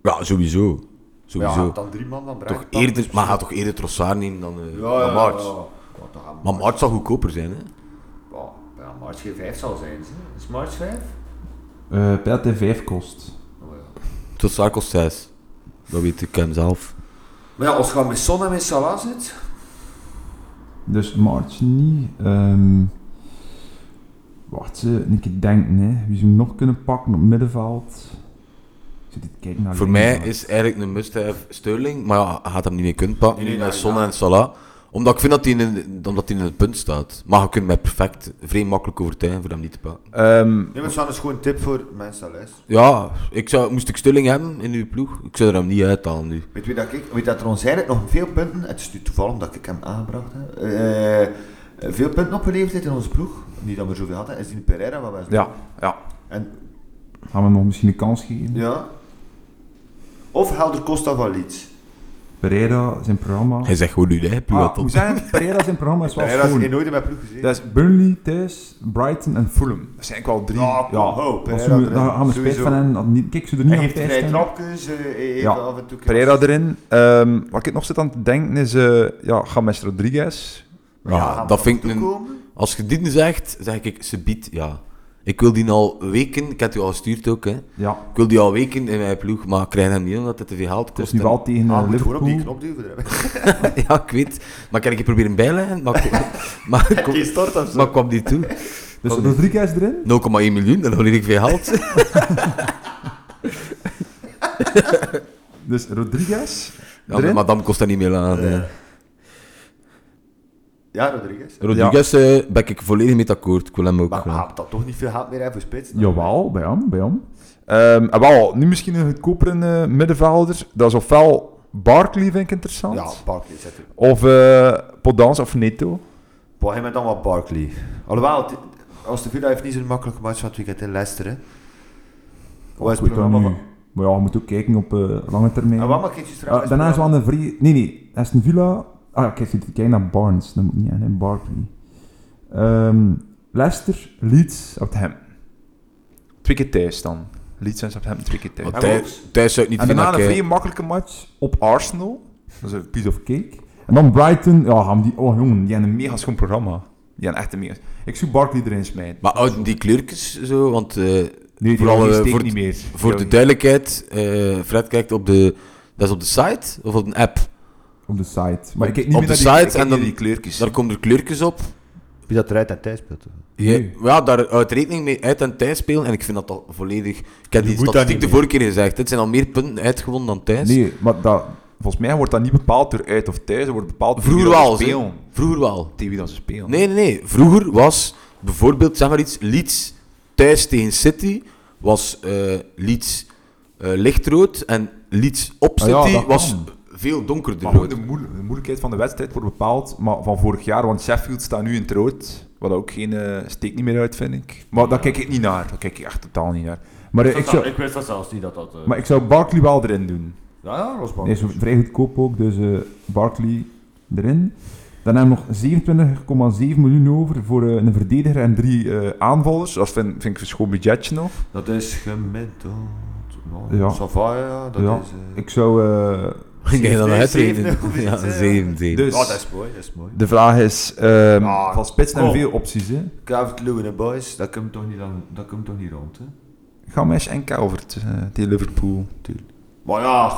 Ja, sowieso. Maar Ja, Sowieso. dan drie man van Bright. toch pakken. eerder, maar gaat toch eerder Trossard nemen dan, eh Ja, ja, dan Maartens? ja, ja. Ja, dan gaan we- Maar Maartens zal goedkoper zijn, hè? Ja, ja, March geen 5 zal zijn. hè. Is March 5? Uh, PLT 5 kost. Oh, ja. Trossard kost 6. Dat weet ik hem zelf. Maar ja, als je met Son en met Salah zit, Dus March niet. Ehm, wacht, ze, een keer denken, hè. Wie ze nog kunnen pakken op middenveld. Ik zit te kijken naar Voor links, mij maar- is eigenlijk een must-have Sterling, maar ja, hij gaat hem niet meer kunnen pakken. Nee, nee, met nee, Son ja. en Salah. Omdat ik vind dat hij in, omdat hij in het punt staat. Maar je kunt mij perfect, vrij makkelijk overtuigen voor hem niet te pakken. Ehm, Nee, maar Swan is gewoon een tip voor mensen thuis. Ja, ik zou, moest ik Sterling hebben in uw ploeg? Ik zou er hem niet uithalen nu. Weet je dat ik, weet dat er ons eigenlijk nog veel punten, het is nu toevallig dat ik hem aangebracht heb, eh, veel punten opgeleverd heeft in onze ploeg, niet dat we zoveel hadden, is die Pereira wat was dat? ja, ja. En, Gaan we hem nog misschien een kans geven? ja. Of Helder Costa van Leeds. Pereira, zijn programma... Hij zegt gewoon nu, hè, ploeg Ah, had hoe op. zijn het? Pereira zijn programma is wel Pereira is schoon. hier nooit in mijn ploeg gezien. Dat is Burnley, thuis, Brighton en Fulham. Dat zijn eigenlijk wel drie. Ja, kom, ho, als Pereira ze moeten- erin. daar gaan we spijt Sowieso. van hebben. dat niet- Kijk, ze er niet Hij aan heeft thuis vrij zijn. trapjes, eh, even Ja. af en toe. Pereira erin. Ehm, wat ik nog zit aan te denken is, eh ja, James Rodriguez. Ja, gaan we dat er vind ik naartoe een- komen? Als je die zegt, zeg ik, ze biedt, ja. Ik wil die al weken, ik heb die al gestuurd ook, hè. Ja, Ik wil die al weken in mijn ploeg, maar ik krijg hem niet omdat het te veel geld het is kost. nu wel tegen eh, Ah, moet gewoon op die Liverpool. knop duwen. hè. ja, ik weet. Maar kan ik je proberen bijleggen? Maar, maar, Geen maar, stort of zo. maar kwam die toe? 0,1 Dus Oh, nee. Rodriguez erin. miljoen, dat is wel redelijk veel geld. Dus Rodriguez Ja, erin. maar madame kost dat niet meer aan. hè. Ja, Rodriguez. Rodriguez eh, ben ik volledig met akkoord. Ik wil hem ook. Maar Ah, graag. gaat dat toch niet veel haat meer hebben voor spits? nou? Jawel, bij hem, bij hem. Ehm, en wel, nu misschien een goedkopere eh, middenvelder. Dat is ofwel Barkley, vind ik interessant. Ja, Barkley zet er. Of eh Podence of Neto. Op hem dan wel Barkley. Alhoewel, het- als de Villa heeft niet zo'n makkelijke match van het weekend in Leicester. Hè. Wat Goed, is het dan programma nu. van... Maar ja, je moet ook kijken op eh, lange termijn. En wat mag ik je Ah, trouwens? daarna is wel een vrije... Nee, nee. Aston Villa... Ah, kijk, zit te kijken naar Barnes. Dat moet niet aan, hè. Barkley. Ehm, Leicester, Leeds, Southampton. Twee keer thuis dan. Leeds en Southampton twee keer thuis. Maar thuis, thuis zou ik niet En daarna vinden een dat vrij ik, eh, makkelijke match op Arsenal. Dat is een piece of cake. En dan Brighton. Ja, gaan die... Oh, jongen. Die hebben een mega schoon programma. Die hebben echt een mega... Ik zoek Barkley erin smijten. Maar houden die kleurtjes zo, want... eh, Nee, die Vooral, jongen eh, steekt voor niet het- meer. Voor de duidelijkheid, eh, Fred kijkt op de... Dat is op de site of op een app? Op de site. Maar ik kijk niet op meer de naar die- site ik kijk en niet dan- naar die kleurtjes. Daar komen er kleurtjes op. Wie dat eruit en thuis speelt. hè. Ja, Nee. ja, daar uit rekening mee uit en thuis spelen. En ik vind dat al volledig... Ik heb die moet dat statistiek niet de meer. vorige keer gezegd. Het zijn al meer punten uitgewonnen dan thuis. Nee, maar dat, volgens mij wordt dat niet bepaald door uit of thuis. Dat wordt bepaald door Vroeger wie dat wel, ze hè. spelen. Vroeger wel. Tegen wie dat ze spelen. Nee, nee, nee. Vroeger was bijvoorbeeld, zeg maar iets, Leeds thuis tegen City was eh Leeds eh, lichtrood en Leeds op Ah City ja, dat was kan. veel donkerder Maar goed, rood. de, moe- de moeilijkheid van de wedstrijd wordt bepaald maar van vorig jaar. Want Sheffield staat nu in het rood. Wat ook geen eh, steek niet meer uit, vind ik. Maar daar kijk ik niet naar. Daar kijk ik echt totaal niet naar. Maar, eh, ik, zou, wist dat zelfs niet dat dat... eh, maar ik zou Barkley wel erin doen. Ja, ja, Rosbach. Hij is vrij goedkoop ook, dus eh Barkley erin. Dan hebben we nog 27,7 miljoen over voor eh, een verdediger en drie eh, aanvallers. Dat vind, vind ik een schoon budgetje nog. Dat is gemiddag. Nou, Ja. ja. Sava, ja, dat Ja. is... eh, Ik zou eh, Ging jij dan Zeven, uitreden? zeven, Ja, zeven. zeven, zeven. Dus- Oh, dat is mooi, dat is mooi. De vraag is, ehm Ah, van spits zijn kom. veel opties. Hè? Calvert Lewin en Boys, dat komt toch niet, aan, dat komt toch niet rond, hè? Gamesh en Calvert eh, tegen Liverpool. Maar ja,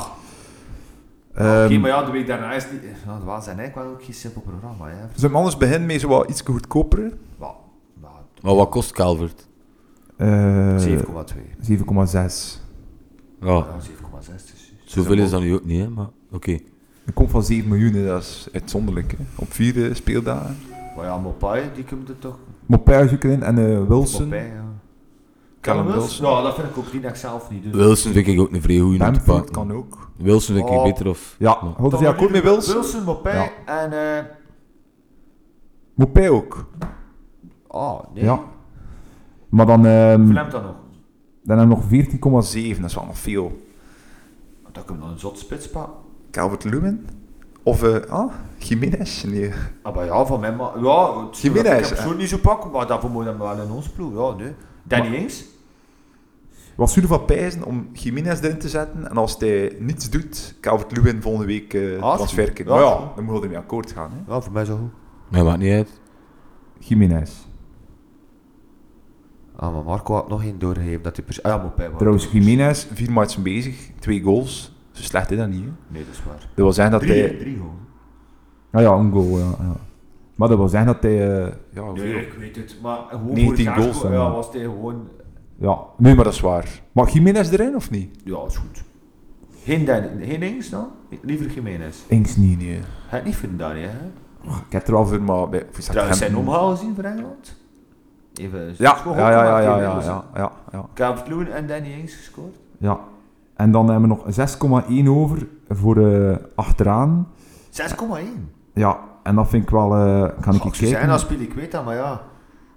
Ehm, oké, maar ja, de week daarna is niet... Ja, dat was eigenlijk wel ook geen simpel programma, hè. Zullen we anders beginnen met zo wat iets goedkoper? Maar, maar Maar wat kost Calvert? Eh 7,2. 7,6. Ja, Ja, 7,6 dus. zoveel is dat nu ook niet, hè? Maar oké. Dat komt van 7 miljoen, hè, dat is uitzonderlijk. Hè. Op vier eh, speeldagen. Maar ja, Mopai, die komt er toch... Mopé zoeken in en eh, Wilson. Mopai, ja. Callum Wilson. Ja, dat vind ik ook niet, dat ik zelf niet. Dus. Wilson vind ik ook een vrij goeie om te Bamford pakken. kan ook. Wilson vind ik Oh. beter of... Ja, Nou. houden ze akkoord met Wilson? Wilson, Mopai en... eh Mopé ook. Oh, nee. Ja. Maar dan, ehm Verlemt dat nog? dan hebben we nog 14,7. Dat is wel nog veel. Dat komt dan een zot spitspak. Calvert Lewin? Of, eh ah, Jiménez? Nee. Ah, maar ja, van mij maar... Ja, het, ik Jiménez, heb het hè? zo niet zo pakken, maar daarvoor moet je hem wel in ons ploeg. Ja, nee. Danny Ings? Wat zou je ervan pijzen om Jiménez erin te zetten en als hij niets doet, Calvert Lewin volgende week eh Ah, transfer goed. kunnen? Maar Ja, ja, goed. dan moet je ermee akkoord gaan. Hè? Ja, voor mij zo goed. Nee, maakt niet uit. Jiménez. Ah, maar Marco had nog geen doorgegeven dat hij... pers- Ah ja, Mopai. Trouwens, Jiménez, vier matchen bezig, twee goals. Zo slecht is dat niet. Hè? Nee, dat is waar. Dat wil zeggen dat Drie, hij... drie gewoon. Nou ja, een goal, ja, ja. Maar dat wil zeggen dat hij... eh, ja, hoeveel- Nee, ik weet het. Maar gewoon voor 19 Gakpo, goals dan, ja, ja. was hij gewoon... ja, nee, maar dat is waar. Mag Jiménez erin of niet? Ja, is goed. Geen, Den- geen Ings dan? Liever Jiménez. Inks niet, nee. Ga het niet vinden, Dani, hè? Ik heb er al voor, maar... Bij, voor Trouwens, zijn Southampton- omhaal gezien voor Engeland? Even Ja, schoon ja, ja, ja, gemaakt ja, in ja, Wales, hè. ja, ja, ja, Calvert-Lewin en Danny Ings gescoord. ja. En dan hebben we nog 6,1 over voor eh, achteraan. 6,1. Ja, en dat vind ik wel... eh kan ik Als eens je zijn als kijken. speel ik weet dat, maar ja.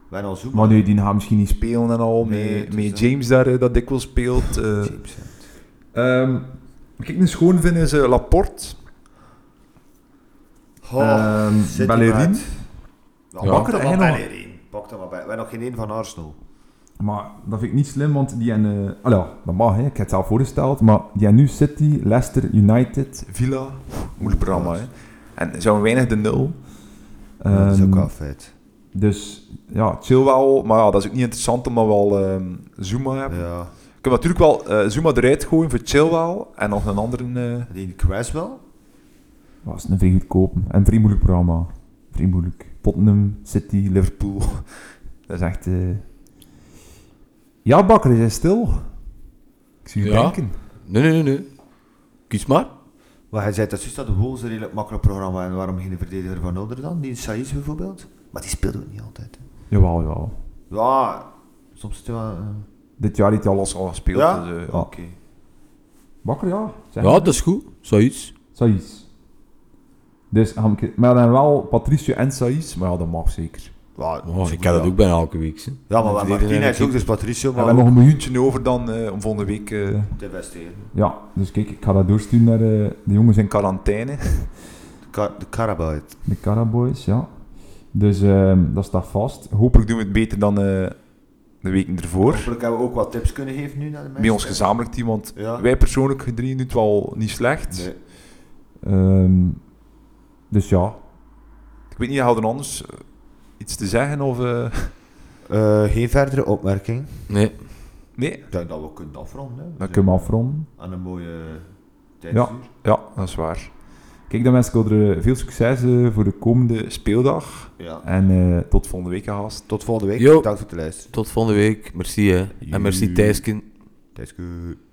We hebben al zoeken. Maar nu, die gaat misschien niet spelen en al. Nee, met, het met is dat. James daar, eh, dat dikwijls speelt. eh. Ehm, wat ik nu schoon vind is eh, Laporte. Ehm, City Bellerin. maakt- Ja, Ja. Pak er En maar nog- Bellerin. Pak er maar bij. We hebben nog geen één van Arsenal. Maar dat vind ik niet slim, want die en eh ah ja, dat mag, hè. ik heb het zelf voorgesteld. Maar die en nu City, Leicester, United, Villa. Moeilijk programma, hè. En zo weinig de nul. Ja, dat is ook Ehm, wel vet. Dus ja, chill wel, maar ja, dat is ook niet interessant omdat we al ehm, Zuma hebben. Ja. Ik kan natuurlijk wel eh, Zuma eruit gooien voor Chilwell en nog een andere... eh, Die Creswell? Dat is een vrij goedkoop en vrij moeilijk programma. Vrij moeilijk. Tottenham, City, Liverpool. Dat is echt... eh, Ja, Bakker, is hij stil? Ik zie je Ja. denken. Nee, nee, nee, nee. Kies maar. Maar hij zei dat juist dat de Wolves een redelijk makkelijk programma en waarom geen verdediger van Onder dan? Die Saïs bijvoorbeeld. Maar die speelde ook niet altijd. hè. Jawel, jawel. Ja, soms is het wel... eh, Dit jaar heeft hij al los al gespeeld. Ja? Dus, eh, ja. Oké. Bakker, ja. Zeg Ja, maar. dat is goed. Zoiets. Saïs. Dus, gaan we- maar dan wel Patricio en Saïs. Maar ja, dat mag zeker. Ja, Oh, ik heb dat ook bijna elke week. hè. Ja, maar we hebben Verdediger heb Martinez ik- ook, dus Patricio, We hebben maar nog ook een miljoentje over dan eh, om volgende week... eh, te investeren. ja, dus kijk, ik ga dat doorsturen naar eh, de jongens in quarantaine. De, Ka- de Carabuit. De Caraboys, ja. Dus ehm, dat staat vast. Hopelijk doen we het beter dan eh, de weken ervoor. Hopelijk hebben we ook wat tips kunnen geven nu naar de mensen. Bij ons gezamenlijk team, want Ja. wij persoonlijk gedrieën doen het wel niet slecht. Nee. Ehm, dus ja. Ik weet niet, houden anders eh, iets te zeggen of... eh, Eh, geen verdere opmerking. Nee. nee, Ik denk dat we kunnen afronden. hè. We dan zijn kunnen we afronden. Aan een mooie Ja. tijdsuur. Ja, dat is waar. Kijk, dan wens ik er eh, veel succes eh, voor de komende speeldag. Ja. En eh, tot volgende week, gast. Tot volgende week. Yo. Bedankt voor het luisteren. Tot volgende week. Merci, hè. En merci, Thijsken. Tijds goed.